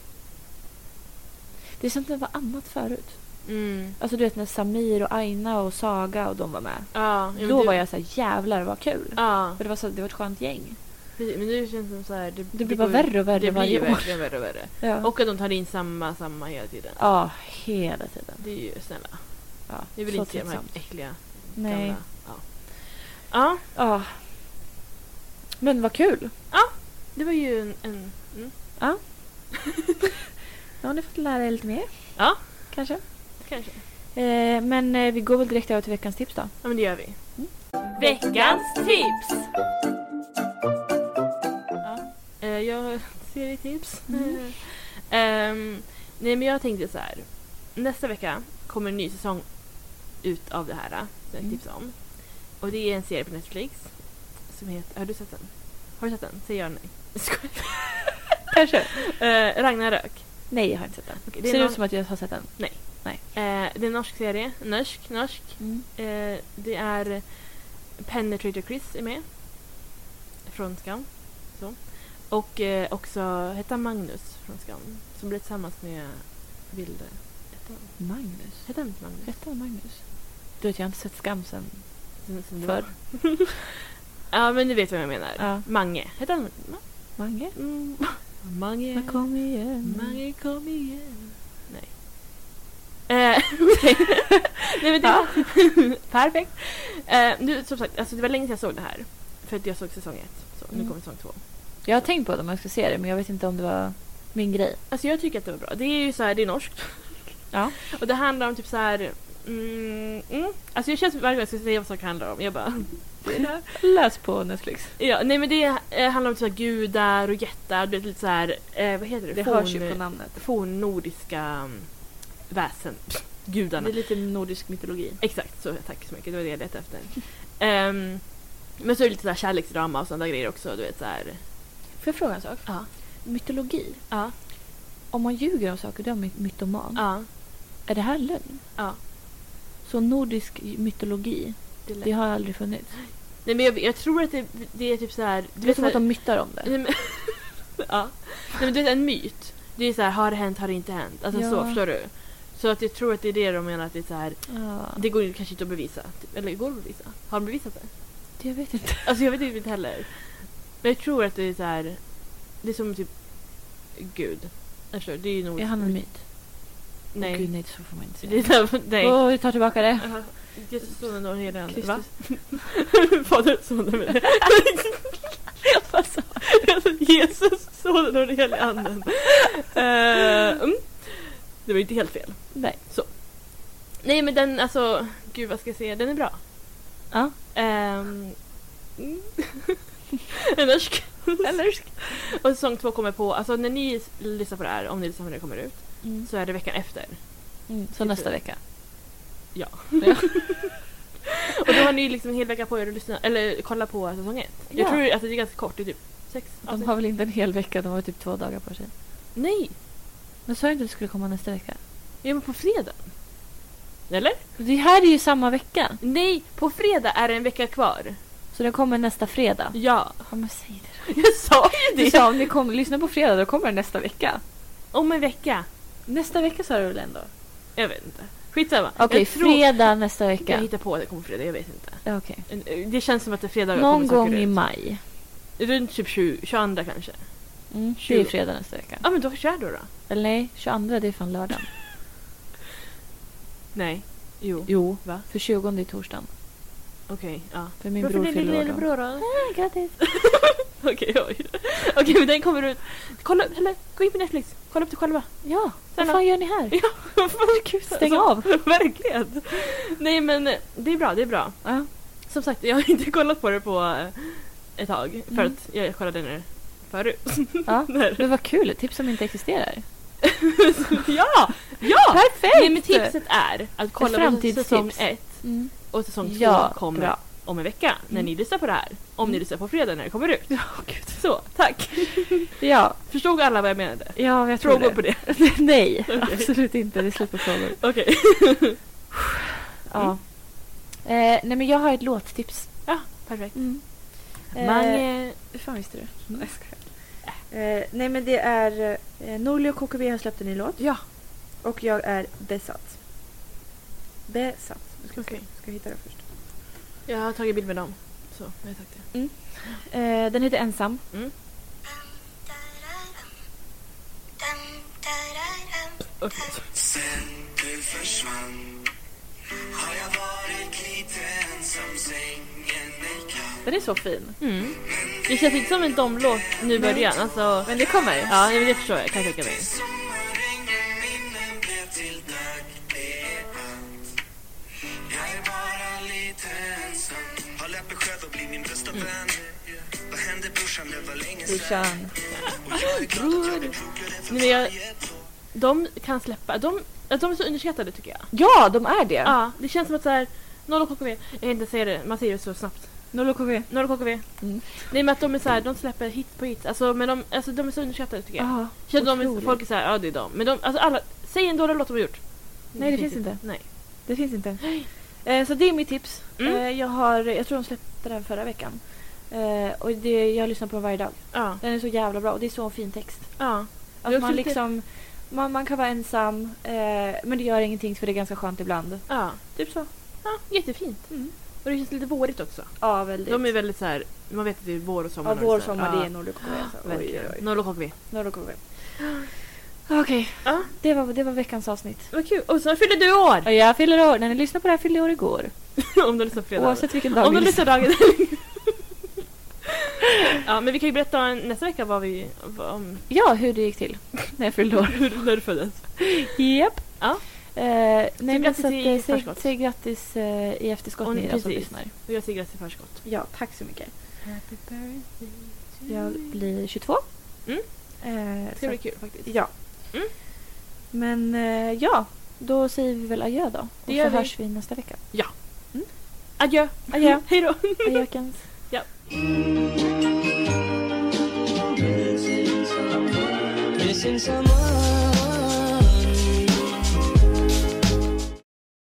S2: Det känns som det var annat förut.
S1: Mm.
S2: Alltså du vet när Samir och Aina och Saga och de var med.
S1: Ja, ja, men
S2: Då
S1: du-
S2: var jag så här, jävlar vad kul.
S1: Ja,
S2: För det var, så, det var ett skönt gäng.
S1: precis. men nu känns det som så här... Det,
S2: Det blir
S1: går
S2: bara
S1: ju-
S2: värre och värre
S1: Det blir ju
S2: varje år.
S1: verkligen värre och värre.
S2: Ja.
S1: Och att de tar in samma, samma hela tiden.
S2: ja, hela tiden.
S1: Det är ju snälla.
S2: Ja,
S1: Jag vill
S2: så
S1: inte se de här
S2: tröttsamt.
S1: äckliga
S2: Nej.
S1: gamla. Ja. ja,
S2: Ja. Men vad kul.
S1: det var ju en... en mm.
S2: Nu har ni fått lära er lite mer.
S1: Ja.
S2: Kanske.
S1: Kanske.
S2: Eh, men eh, vi går väl direkt över till veckans tips då.
S1: Ja, men det gör vi.
S4: Veckans tips!
S1: Eh, jag har ett serietips.
S2: Mm.
S4: Mm.
S1: Ehm, nej, men jag tänkte så här. Nästa vecka kommer en ny säsong ut av det här eh, som jag
S2: Mm.
S1: tipsade om. Och det är en serie på Netflix som heter... Har du sett den? Har du sett den? Säg ja eller nej.
S2: Kanske.
S1: Eh, Ragnarök.
S2: Nej, jag har inte sett den.
S1: Okej, det är
S2: Ser det
S1: någon-
S2: ut som att jag har sett den?
S1: Eh, det är en norsk serie. Norsk, norsk.
S2: Mm.
S1: Eh, det är Penetrator Chris är med. Från Skam. Så. Och eh, också hette han Magnus från Skam. Som blev tillsammans med Vilde. Hette han-
S2: Magnus.
S1: Hette han inte Magnus?
S2: Rätt av Magnus. Du vet, jag har inte sett Skam sen
S1: Sen- sen det var.
S2: förr.
S1: Ja men du vet vad jag menar.
S2: Ja.
S1: Mange. Hette han Ma-
S2: Mange?
S1: mm. Mange.
S2: Men kom igen.
S1: Mange kom igen. Nej. Eh, Okej. Nej men det Perfekt. Eh, nu, som sagt, alltså, det var länge sedan jag såg det här. För att jag såg säsong ett. Så,
S2: Mm.
S1: Nu kommer säsong två.
S2: Jag har tänkt på det om jag ska se det men jag vet inte om det var min grej.
S1: Alltså jag tycker att det var bra. Det är ju så här, det är norskt.
S2: Ja.
S1: Och det handlar om typ så här... Mm, mm. Alltså jag känns varje gång jag ska säga vad saker handlar om. Jag bara...
S2: Läs på Netflix.
S1: Ja, nej men det eh, handlar om typ så här gudar och jättar. Du vet lite så här... Eh, vad heter det?
S2: Det hörs ju på namnet.
S1: Fornnordiska mm, väsen.
S2: Det
S1: Gudarna.
S2: är lite nordisk mytologi.
S1: Exakt, så tack så mycket. Det var det jag letade efter. Ehm, men så är det lite så här kärleksdrama och sådana grejer också. Du vet så
S2: Mm.
S1: här...
S2: Får jag fråga en sak?
S1: Ja.
S2: Mytologi.
S1: Ja.
S2: Om man ljuger om saker då är man mytoman.
S1: Ja.
S2: Är det här lögn?
S1: Ja.
S2: Så nordisk mytologi,
S1: Det är lätt.
S2: det har aldrig funnits.
S1: Nej men jag, jag tror att det, det är typ så här...
S2: Det är som
S1: så
S2: att
S1: här-
S2: de myttar om det.
S1: Nej, men, ja. Nej, men du vet, en myt. Det är så här, har det hänt, har det inte hänt? Alltså
S2: Ja.
S1: så, förstår du? Så att jag tror att det är det de menar, att det är så här,
S2: Ja.
S1: det går ju kanske inte att bevisa. Typ. Eller går det att bevisa? Har de bevisat det?
S2: Det, jag vet inte.
S1: Alltså jag vet typ inte heller. Men jag tror att det är så här, det är som typ Gud. Förstår du? Det är ju nog...
S2: Är han en myt? Åh, Gud,
S1: Nej.
S2: nej, så får man inte
S1: Det är
S2: säga.
S1: så här, nej.
S2: Åh, jag tar tillbaka det.
S1: Jaha. Jesus, Sonen och heliga Ande. Va?
S2: Kristus.
S1: Fader, Sonen och heliga
S2: Vad sa-
S1: Alltså, Jesus, Sonen och den helige Anden. Eh, mm. Det var ju inte helt fel.
S2: Nej.
S1: Nej men den, alltså, gud vad ska jag säga, den är bra.
S2: Ja.
S1: Ehm, mm. en norsk.
S4: Eller?
S1: Och säsong två kommer på, alltså när ni lyssnar på det här, om ni lyssnar på det kommer ut,
S4: Mm.
S1: så är det veckan efter.
S4: Mm.
S2: Så nästa vecka.
S1: Ja.
S2: Ja.
S1: Och då har ni liksom en hel vecka på er att lyssna, eller kolla på säsong ett. Jag
S4: Ja.
S1: tror att det är ganska kort, det är typ sex
S2: De
S1: avsnitt.
S2: har väl inte en hel vecka, de har typ två dagar på sig.
S1: Nej!
S2: Men sa jag inte att det skulle komma nästa vecka?
S1: Ja men på fredag. Eller?
S2: Det här är ju samma vecka,
S1: Nej! På fredag är det en vecka kvar.
S2: så den kommer nästa fredag.
S1: Ja.
S2: Ja, men säg det
S1: Jag sa ju
S2: Du
S1: det!
S2: sa om ni kom, lyssnar på fredag, då kommer den nästa vecka.
S1: Om en vecka.
S2: Nästa vecka sa du väl ändå?
S1: Jag vet inte. Skitsamma.
S2: Okej,
S1: jag
S2: fredag nästa
S1: Jag
S2: vecka.
S1: hittar på att det kommer på fredag, jag vet inte. eh,
S2: Ja, Okej.
S1: Det känns som att det är fredag
S2: Någon
S1: kommer
S2: gång
S1: saker
S2: i
S1: ut.
S2: maj.
S1: Runt typ 20, 22 kanske.
S2: Mm, det är
S1: Tjugo.
S2: fredag nästa vecka.
S1: Ja men då kör då då.
S2: Eller nej, 22 det är fan lördagen.
S1: Nej. Jo.
S2: Jo,
S1: Va?
S2: för 20 är torsdagen.
S1: Okej, ja.
S2: För min bror fyller år då.
S1: då?
S2: Ah, grattis!
S1: Okej, oj. Okej, men den kommer ut. Kolla upp, eller gå in på Netflix. Kolla upp det själva.
S2: Ja,
S1: Sen
S2: vad
S1: då?
S2: fan gör ni här?
S1: Ja, gud,
S2: stäng av.
S1: Verkligen. Nej men eh, det är bra, det är bra.
S2: Ja.
S1: Som sagt, jag har inte kollat på det på eh, ett tag. För
S2: Mm.
S1: att jag kollade nu förut.
S2: Ja.
S1: När-
S2: Men vad kul, ett tips som inte existerar.
S1: ja! Ja!
S2: Perfekt!
S1: Nej men tipset är att kolla på
S2: framtidstips.
S1: säsong ett
S2: Mm.
S1: och säsong två
S2: Ja,
S1: kommer
S2: bra.
S1: om en vecka när
S2: Mm.
S1: ni lyssnar på det här. Om ni
S2: Mm.
S1: lyssnar på fredag när det kommer ut. Så, tack!
S2: Ja,
S1: Förstod alla vad jag menade?
S2: ja jag tror
S1: Frågor
S2: det.
S1: på det?
S2: Nej,
S1: Okej.
S2: absolut inte. Det är slut på frågor.
S1: Okej.
S2: Ja.
S1: Mm.
S2: Eh, nej men jag har ett låttips.
S1: Ja, perfekt.
S2: Mm.
S1: Eh, Mange...
S4: Hur fan visste du? Nej, jag skojar. Eh, nej, men det är... Eh, Norli och KKV har släppt en ny låt.
S1: Ja.
S4: Och jag är besatt. Besatt. Nu ska,
S1: Okej.
S4: okay. ska jag hitta det först.
S1: Jag har tagit bild med dem. Så, jag har sagt det.
S2: Eh, den heter Ensam.
S1: Okej.
S5: Sen du försvann har jag varit lite ensam sängen mig kall
S2: Den är så fin.
S1: Mm. Det känns inte som en domlåt nu i början. Alltså,
S2: Men det kommer.
S1: ja, det förstår jag. Kan jag tänka mig.
S5: Sommarregnen minnen blev till dag, det är allt Jag är bara lite ensam Har lärt mig själv att bli min bästa vän Vad hände brorsan, det var länge sen
S2: Brorsan.
S5: Och jag är glad att jag blev klokare för
S1: Nej, men jag-
S5: varje dag
S1: De kan släppa. De, att de är så underskattade tycker jag.
S2: Ja, de är det.
S1: Ja, det känns som att såhär... Noll och KKV. Jag kan inte säga det. Man säger det så snabbt.
S2: Noll och KV.
S1: Noll och KKV.
S2: Mm.
S1: Nej men att de är såhär, de släpper hit på hit. Alltså, men de, alltså, de är så underskattade tycker jag.
S2: Ja.
S1: Känns som de,
S2: otroligt.
S1: folk är såhär, ja det är de. Men de, alltså alla, säg en dålig låt de har gjort.
S2: Nej, det finns inte.
S1: Nej.
S2: Det finns inte. Eh, så det är mitt tips.
S1: Mm.
S2: Eh, jag, har, jag tror de släppte den förra veckan. Eh, och det, jag lyssnar på den varje dag.
S1: Ja.
S2: Den är så jävla bra och det är så en fin text.
S1: ja. Det är
S2: Att
S1: också
S2: man,
S1: lite-
S2: liksom, man, man kan vara ensam eh, men det gör ingenting för det är ganska skönt ibland.
S1: Ja.
S2: Typ så.
S1: Ja, jättefint.
S2: Mm.
S1: Och det känns lite vårigt också.
S2: Ja, väldigt.
S1: De är väldigt så här, man vet att det är vår och sommar.
S2: ja,
S1: och
S2: vår
S1: så här.
S2: sommar
S1: ja,
S2: det är alltså. Nordic Korea. Oj,
S1: Verkligen.
S2: oj, oj.
S1: Noll och KKV.
S2: Nordic Korea. Okej,
S1: Ja.
S2: det, var, det var veckans avsnitt.
S1: Vad kul! Och sen fyller du år!
S2: Och jag fyller år. När ni lyssnar på det här fyllde jag år igår.
S1: Om du lyssnar på fredag.
S2: Oavsett vilken dag
S1: Om du
S2: ni
S1: lyssnar dagen. ja, men vi kan ju berätta nästa vecka vad vi... Vad, om,
S2: Ja, hur det gick till när jag fyllde år.
S1: hur, när du föddes.
S2: Japp.
S1: Ja.
S2: Eh, nej, men
S1: grattis
S2: så att,
S1: i
S2: eh, säg,
S1: förskott.
S2: säg grattis eh, i efterskott
S1: Och
S2: ni då som
S1: precis.
S2: lyssnar.
S1: Och jag säger grattis i förskott.
S4: Ja, tack så mycket.
S2: Jag blir 22.
S1: Mm.
S2: Eh,
S1: Det
S2: så
S1: ska bli
S2: att-
S1: kul faktiskt.
S4: Ja.
S1: Mm.
S2: Men eh, ja, då säger vi väl adjö då. Och
S1: Det gör
S2: så
S1: vi.
S2: hörs vi nästa vecka.
S1: Adjö!
S2: Adjö.
S1: Hej då!
S2: Adjökens.
S6: This is summer.